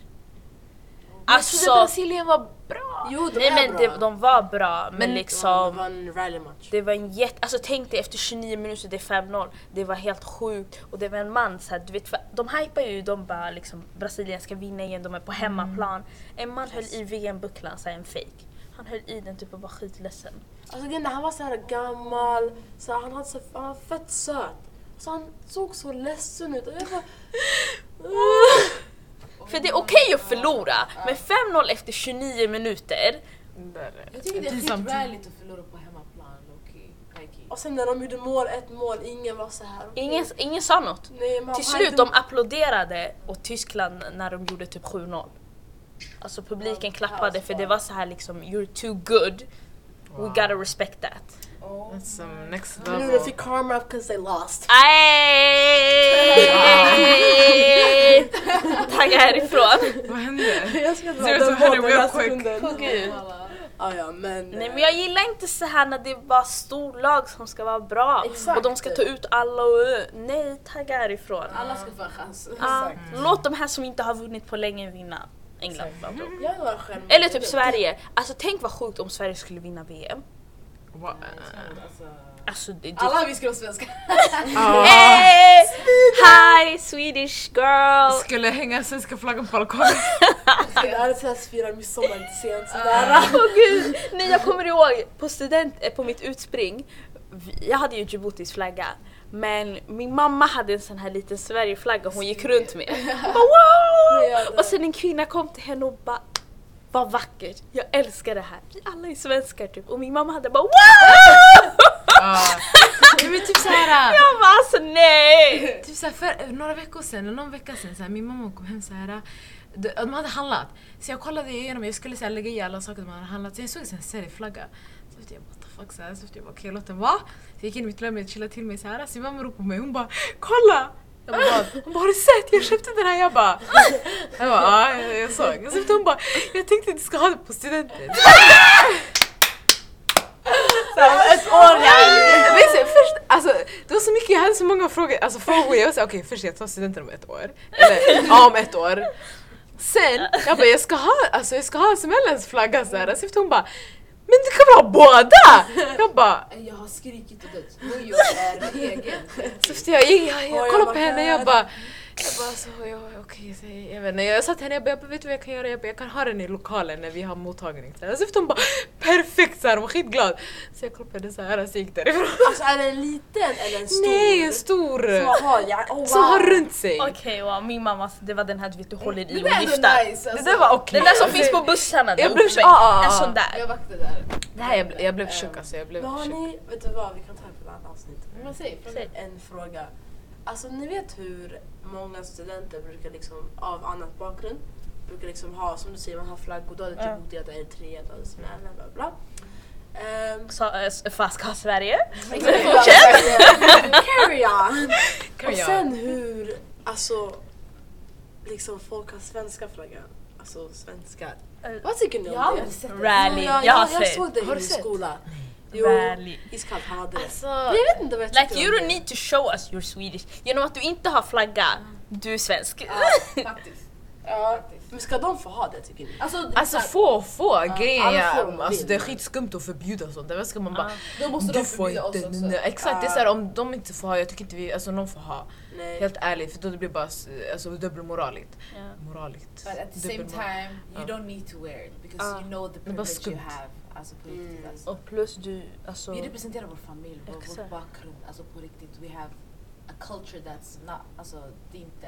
S2: Alltså,
S4: Brasilien var bra!
S1: Jo, de
S2: nej
S1: är
S2: men
S1: bra.
S2: det, de var bra men
S4: Men-
S1: Det
S2: liksom...
S1: var en rallymatch.
S2: Det var en jätte... Alltså tänk dig efter 29 minuter, det är 5-0. Det var helt sjukt. Och det var en man så här, du vet, för de hypar ju, de bara liksom Brasilien ska vinna igen, de är på hemmaplan. En man höll i VM-bucklan, så här, en fake. Han höll i den typ och var skitledsen.
S1: Alltså grejen är, han var så här gammal, så här, han, hade så, han var fett söt. Så han såg så ledsen ut och jag bara...
S2: För det är okej att förlora, men 5-0 efter 29 minuter.
S3: Jag tycker det är skitrallyt att förlora på hemmaplan, Loki.
S1: Och sen när de gjorde mål, ett mål, ingen var så här. okej.
S2: Ingen, ingen sa något.
S1: Nej, man,
S2: Till
S1: han
S2: slut,
S1: dum-
S2: de applåderade åt Tyskland när de gjorde typ 7-0. Alltså publiken klappade för det var så här liksom, you're too good. We gotta respect that.
S4: That's some Alltså, next
S1: Men
S4: level.
S1: nu fick karma up 'cause they lost.
S2: Aj! Tagga härifrån.
S4: Vad hände?
S1: jag ska dra
S4: Zero to
S1: den
S4: hundred
S1: båten
S4: real
S1: den här
S4: quick.
S1: sekunden.
S2: Gud.
S1: Ja, ja, men...
S2: Nej men jag gillar inte så här när det är bara storlag som ska vara bra
S1: Exakt.
S2: och de ska ta ut alla och eh, nej tagga härifrån.
S3: Alla ska få en chans.
S2: Ah, låt de här som inte har vunnit på länge vinna. England bla bla.
S1: Jag vill vara själv.
S2: Eller typ Sverige. Alltså tänk vad sjukt om Sverige skulle vinna VM.
S4: Wow.
S2: Alltså det... det
S3: Alla vi skulle vara svenska.
S4: Ah,
S2: Hey! Hi Swedish girl!
S4: skulle hänga svenska flaggan på balkongen.
S1: Jag hade såhär firat midsommar lite sent sådär.
S2: Åh gud! Nej jag kommer ihåg på, student, eh, på mitt utspring, vi- jag hade ju Djiboutis flagga. Men min mamma hade en sån här liten Sverigeflagga hon gick runt med. Hon Bara,
S1: Nej, jag
S2: wow!
S1: dör.
S2: Och sen en kvinna kom till henne och bara Vad vackert, jag älskar det här. Vi alla är svenskar typ. Och min mamma hade bara wow!
S4: Ah. Nej, men typ såhär,
S2: Jag bara alltså nej!
S4: typ såhär för några veckor sedan, eller någon vecka sedan, såhär, min mamma kom hem såhär. det- De hade handlat. Så jag kollade igenom, jag skulle såhär, lägga i alla saker de hade handlat. Så jag såg en serieflagga. Så tänkte jag what the fuck såhär. Så tänkte jag bara, okej låt den vara. Så jag gick in i mitt rum, jag chillade till mig såhär. Så min mamma ropade på mig, hon bara kolla! Jag bara, "Vad?" hon bara har du sett? Jag köpte den här. Jag bara, jag bara ja jag, jag såg. Så hon bara jag tänkte att du ska ha det på studenten.
S1: Ett år jag
S4: Jag vet inte, först, alltså, det var så mycket, jag hade så många frågor. Alltså, frågor jag var såhär, okej först jag tar studenten om ett år. Eller ja, om ett år. Sen, jag bara jag ska ha, alltså, jag ska ha Smällens flagga såhär. Så efter hon bara, men du kan väl ha båda? Jag bara,
S3: Äh, Jag har skrikit och dött. Mujo är min egen.
S4: så efter jag, jag, jag,
S1: Oj,
S4: jag
S1: jag
S4: kollade
S1: bara,
S4: på henne, jag
S1: här.
S4: bara jag bara så, ja, okej, så, jag vet inte. Jag sa till henne, jag bara, jag bara, vet du vad jag kan göra? Jag, bara, jag kan ha den i lokalen när vi har mottagning. Så efter hon bara, perfekt! Så här, hon var skitglad. Så jag kollade på henne såhär, så gick därifrån.
S1: Alltså är den liten eller en stor?
S4: Nej, en stor!
S1: Som man har, ja. oh, wow.
S4: som har runt sig.
S2: Okej wow, min mamma alltså, det var den här du vet du håller
S3: Det
S2: i
S3: där
S2: och
S3: är
S2: viftar.
S3: ändå nice. Alltså.
S4: Det där var okej.
S2: Den där som finns på bussarna där
S4: Jag
S2: uppe.
S4: blev så- ah, ah, ah.
S2: En sån där.
S3: Jag vaktar där.
S4: Det här, jag, blev- jag blev tjock alltså. Jag blev
S1: Men har
S4: tjock.
S1: ni, vet du vad, vi kan ta det på ett annat avsnitt.
S3: Men säg, fråga.
S2: Säg.
S1: En fråga. Alltså ni vet hur många studenter brukar liksom av annat bakgrund brukar liksom ha, som du säger, man har flaggor, då är det typ
S2: Ja.
S1: Djibouti, då är det Eritrea, då är det Somalia, bla bla. Ehm,
S2: Sa, eh, s- fast ska Sverige?
S1: Carry on!
S4: Kan
S1: Och
S4: jag-
S1: sen hur, alltså, liksom folk har svenska flaggan. Alltså svenskar.
S2: Eh,
S1: Vad tycker ni om
S3: Jag har
S1: det?
S3: aldrig sett det.
S2: Rally.
S1: Ja,
S2: Jag har
S1: jag
S2: sett.
S1: såg det
S4: Har
S1: i
S4: du
S1: min
S4: sett?
S1: skola. Jo,
S2: Rally.
S1: iskallt hade det.
S4: Alltså,
S1: Men jag vet inte vad jag
S2: Like
S1: tycker
S2: you
S1: om
S2: don't
S1: det.
S2: need to show us you're Swedish. Genom att du inte har flagga, du är svensk.
S3: Faktiskt.
S1: Ja. Men ska de få ha det tycker ni?
S3: Alltså,
S4: alltså få, få grejer.
S1: alla får man
S4: alltså,
S1: vill.
S4: det är skitskumt att förbjuda sånt. Där ska man bara,
S3: då måste
S4: du
S3: de
S4: får
S3: förbjuda oss
S4: inte.
S3: också.
S4: Nej, exakt, det är
S1: Ah.
S4: såhär om de inte får ha, jag tycker inte vi, alltså någon får ha.
S1: Nej.
S4: Helt ärligt, för då det blir bara s- alltså, dubbelmoraligt.
S2: Ja.
S4: Moraligt.
S3: But at the same
S4: Dubbelmoral.
S3: time, you
S4: Ja.
S3: don't need to wear it because
S2: Ah.
S3: you know the
S4: är bara
S3: privilege you
S4: skumt.
S3: have. Alltså på riktigt
S1: Mm.
S3: alltså.
S2: Och plus du, alltså...
S3: Vi representerar vår familj, vår, vår
S2: Exakt.
S3: bakgrund, alltså på riktigt. We have a culture that's not, alltså det är inte,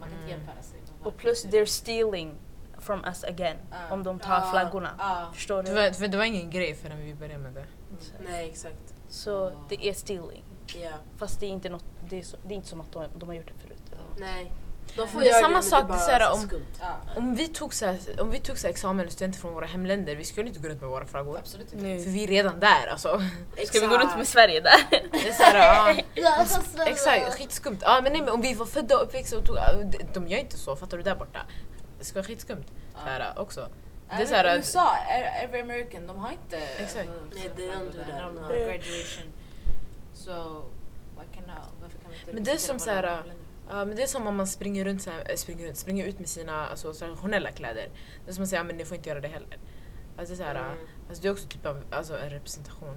S3: man kan inte
S4: Mm.
S3: jämföra sig. med
S2: Och plus they're stealing from us again.
S3: Ah.
S2: Om de tar
S1: Ah.
S2: flaggorna.
S3: Ja.
S2: Förstår
S4: Det
S2: du?
S4: var, för det var ingen grej förrän vi började med det.
S1: Nej exakt.
S2: Så det är stealing.
S1: Ja.
S2: Fast det är inte, något, det är så, det är inte som att de, de har gjort det förut.
S1: Nej. De
S4: Men det är
S1: göra
S4: samma
S1: men
S4: sak, det
S1: bara
S4: är så här
S1: så
S4: om-
S1: skumt.
S3: Ja,
S4: Om vi tog, så här, om vi tog så här examen och studenter från våra hemländer, vi skulle inte gå runt med våra flaggor.
S3: absolut inte.
S4: För
S2: Nu.
S4: vi är redan där alltså.
S2: Ska vi gå runt med
S1: Exakt.
S2: Sverige där?
S4: Det är så här, ja. alltså,
S3: Ja,
S4: Exakt, skitskumt. Ja, men nej, men om vi var födda och uppväxta och tog, de- de gör inte så, fattar du där borta? Det ska vara skitskumt. Så här, också. Det är så här,
S3: USA, e- every American, de har inte...
S4: Exakt.
S1: Nej, they don't do that, no.
S3: No. Graduation. So, why can I, varför kan vi inte
S4: Men det är
S3: representera
S4: som
S3: våra
S4: så här,
S3: länder?
S4: ja, men det är som om man springer runt, så här, äh, springer, runt springer ut med sina alltså, traditionella kläder. Det är som att säga, men ni får inte göra det heller. Alltså, det är så här,
S1: Mm.
S4: alltså, det är också typ av alltså, en representation.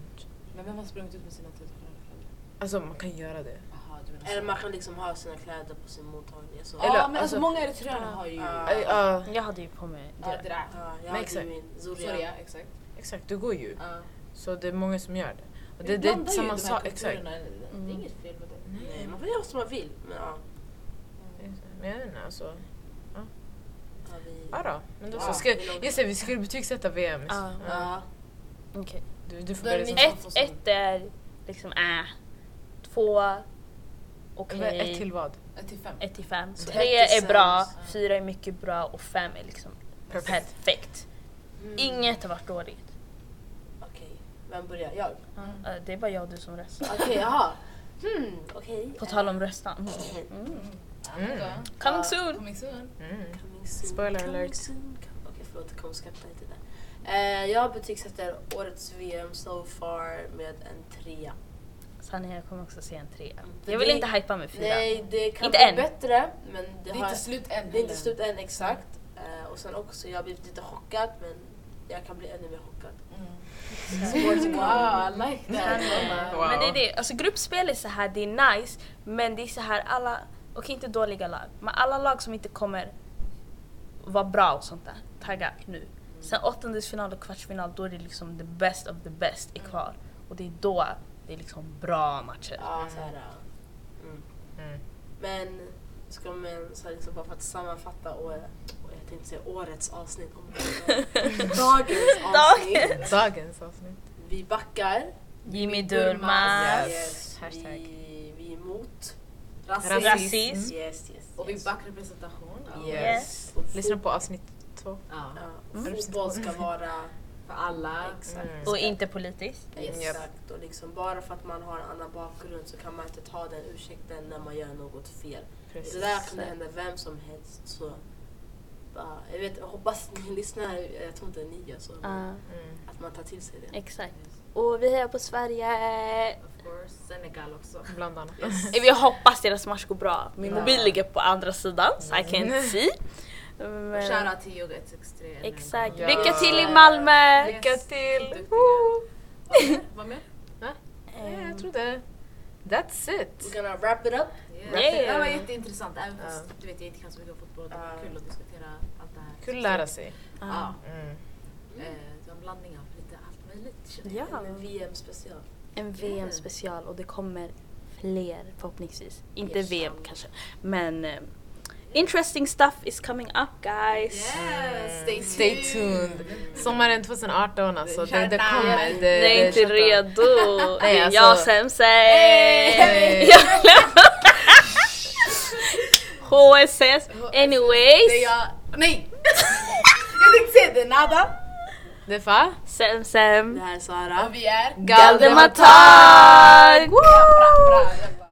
S3: Men vem har sprungit ut med sina traditionella kläder?
S4: Alltså man kan göra det.
S3: Jaha, du menar så.
S1: Eller man kan liksom ha sina kläder på sin mottagning. Så.
S3: Ja,
S4: Eller,
S3: men
S4: alltså-
S3: alltså många eritreaner har ju...
S1: Ja.
S3: Ja,
S4: Äh, ja,
S2: Jag hade ju på mig
S3: det
S2: det.
S3: där.
S1: Ja, jag
S4: Men
S1: hade
S4: exakt.
S1: ju min
S3: Sorry, ja,
S1: Zoria.
S3: exakt.
S4: exakt, det går ju.
S3: Ja.
S4: Så det är många som gör det. Och
S3: Vi
S4: det, det är
S3: blandar ju
S4: samma
S3: de här
S4: sak,
S3: kulturerna.
S4: exakt.
S3: Det är inget fel med det.
S1: Nej, man får göra som man vill. Men ja.
S4: Men jag vet inte, alltså.
S1: ja, vi...
S4: Ja då, men då
S1: Ja,
S4: så. Ska,
S1: det låter-
S4: just det, vi skulle betygsätta VM.
S2: Ja.
S4: Ja.
S1: Ja.
S2: Okej.
S4: Du, du får
S3: Då är
S4: börja
S3: det
S4: som
S3: mitt-
S2: Ett, ett är liksom äh. Två, okej.
S4: Vad- Ett till vad?
S3: Ett till fem.
S2: ett till fem.
S1: Så
S2: Tre
S1: ett till
S2: är bra,
S1: sämst.
S3: Ja.
S2: fyra är mycket bra och fem är liksom perfekt.
S1: Mm.
S2: Mm. Inget har varit dåligt.
S1: Okej, vem börjar? Jag?
S2: Eh, Det är bara jag och du som röstar.
S1: Okej, jaha. Hmm, okej.
S2: På tal om röstan.
S1: Okej.
S4: Mm.
S2: Coming soon!
S3: Coming soon.
S4: Mm.
S1: Coming soon,
S4: Spoiler
S1: coming
S4: alert.
S1: soon, com- Okej, förlåt. Jag kommer skratta lite där. Eh, jag betygsätter årets VM so far med en trea.
S2: Sanna jag kommer också se en trea.
S1: För
S2: Jag vill
S1: det-
S2: inte hypa med fyra.
S1: Nej, det kan
S2: Inte
S1: bli
S2: än.
S1: bättre. Men det,
S3: Det är
S1: har,
S3: inte slut än.
S1: det är inte
S3: heller.
S1: slut än exakt. Eh, och sen också, jag har blivit lite chockad men jag kan bli ännu mer chockad.
S3: Wow, I like that.
S2: Mm.
S4: Wow.
S5: Men det är det, alltså gruppspel är så här, det är nice, men det är så här alla, okej inte dåliga lag, men alla lag som inte kommer vara bra och sånt där, tagga nu. Sen åttondelsfinal och kvartsfinal, då är det liksom the best of the best är kvar. Och det är då det är liksom bra matcher.
S1: Ja, så här, ja.
S4: Mm.
S1: Men ska man så här, liksom, bara för att sammanfatta och, och jag tänkte säga årets avsnitt. Om det är- dagens avsnitt.
S4: Dagens avsnitt.
S1: Vi backar.
S2: Jimmy
S3: Durmaz.
S2: Durmaz.
S1: Yes.
S2: Hashtag.
S1: Vi, vi är emot rasism.
S4: Rasism.
S1: Mm.
S2: Rasism.
S1: Yes, yes,
S3: Och vi
S1: yes.
S3: backar representation. Ja.
S2: Yes.
S1: Och
S4: Lyssna på avsnitt två.
S3: Ja.
S1: Ja, fotboll ska vara
S3: För alla.
S1: exakt.
S4: Mm.
S2: Och inte politiskt.
S1: Exakt, och liksom bara för att man har en annan bakgrund så kan man inte ta den ursäkten när man gör något fel. Det där kan hända vem som helst. Så bara, jag, vet, jag hoppas ni lyssnar, jag tror inte ni gör så. men
S2: Ja,
S4: Mm.
S1: Att man tar till sig det.
S2: exakt. Och vi hejar på Sverige!
S3: Of course. Senegal också.
S4: Bland annat.
S5: Eh, Vi hoppas deras match går bra. Min
S1: Ja.
S5: mobil ligger på andra sidan, så I can't see.
S3: Och
S5: Men,
S3: Shoutout till Yoga 163. ännu en gång.
S2: Exakt.
S4: Ja.
S2: Lycka till i Malmö!
S3: Yes.
S4: Lycka till!
S3: Duktiga.
S4: Woo!
S3: Vad mer?
S4: Nej, jag tror det. That's
S1: We're
S4: it.
S1: gonna wrap it up.
S3: Yeah.
S4: Wrap it
S3: Alltså, Det här var
S5: up.
S3: jätteintressant. Även
S4: Ja.
S3: fast du vet jag inte kan så mycket om fotboll. Det var
S1: Ja.
S3: kul att diskutera allt det här.
S4: Kul att lära sig.
S3: Ja.
S4: Mm.
S3: Eh, Det var en blandning av lite allt möjligt. känner jag.
S2: Ja.
S1: En VM special.
S2: En VM-special och det kommer fler förhoppningsvis. Inte
S3: Yes.
S2: VM kanske, men eh, interesting stuff is coming up guys!
S3: Yes, stay tuned.
S4: Stay tuned. Sommaren 2018 alltså, det, det
S3: Tjena.
S4: kommer.
S2: Jag
S4: Det,
S2: är
S4: det
S2: inte redo! Det
S4: Eh, Nej,
S2: är
S4: alltså-
S2: jag Semsey!
S4: Hey!
S2: HSS!
S3: Alltså, Det är
S2: Anyways!
S3: jag... Nej! jag tänkte säga det. Nada.
S4: Det är fa.
S2: Semsem!
S1: Det här är Sara.
S3: Och vi är...
S2: Galdematag!
S3: Bra, bra.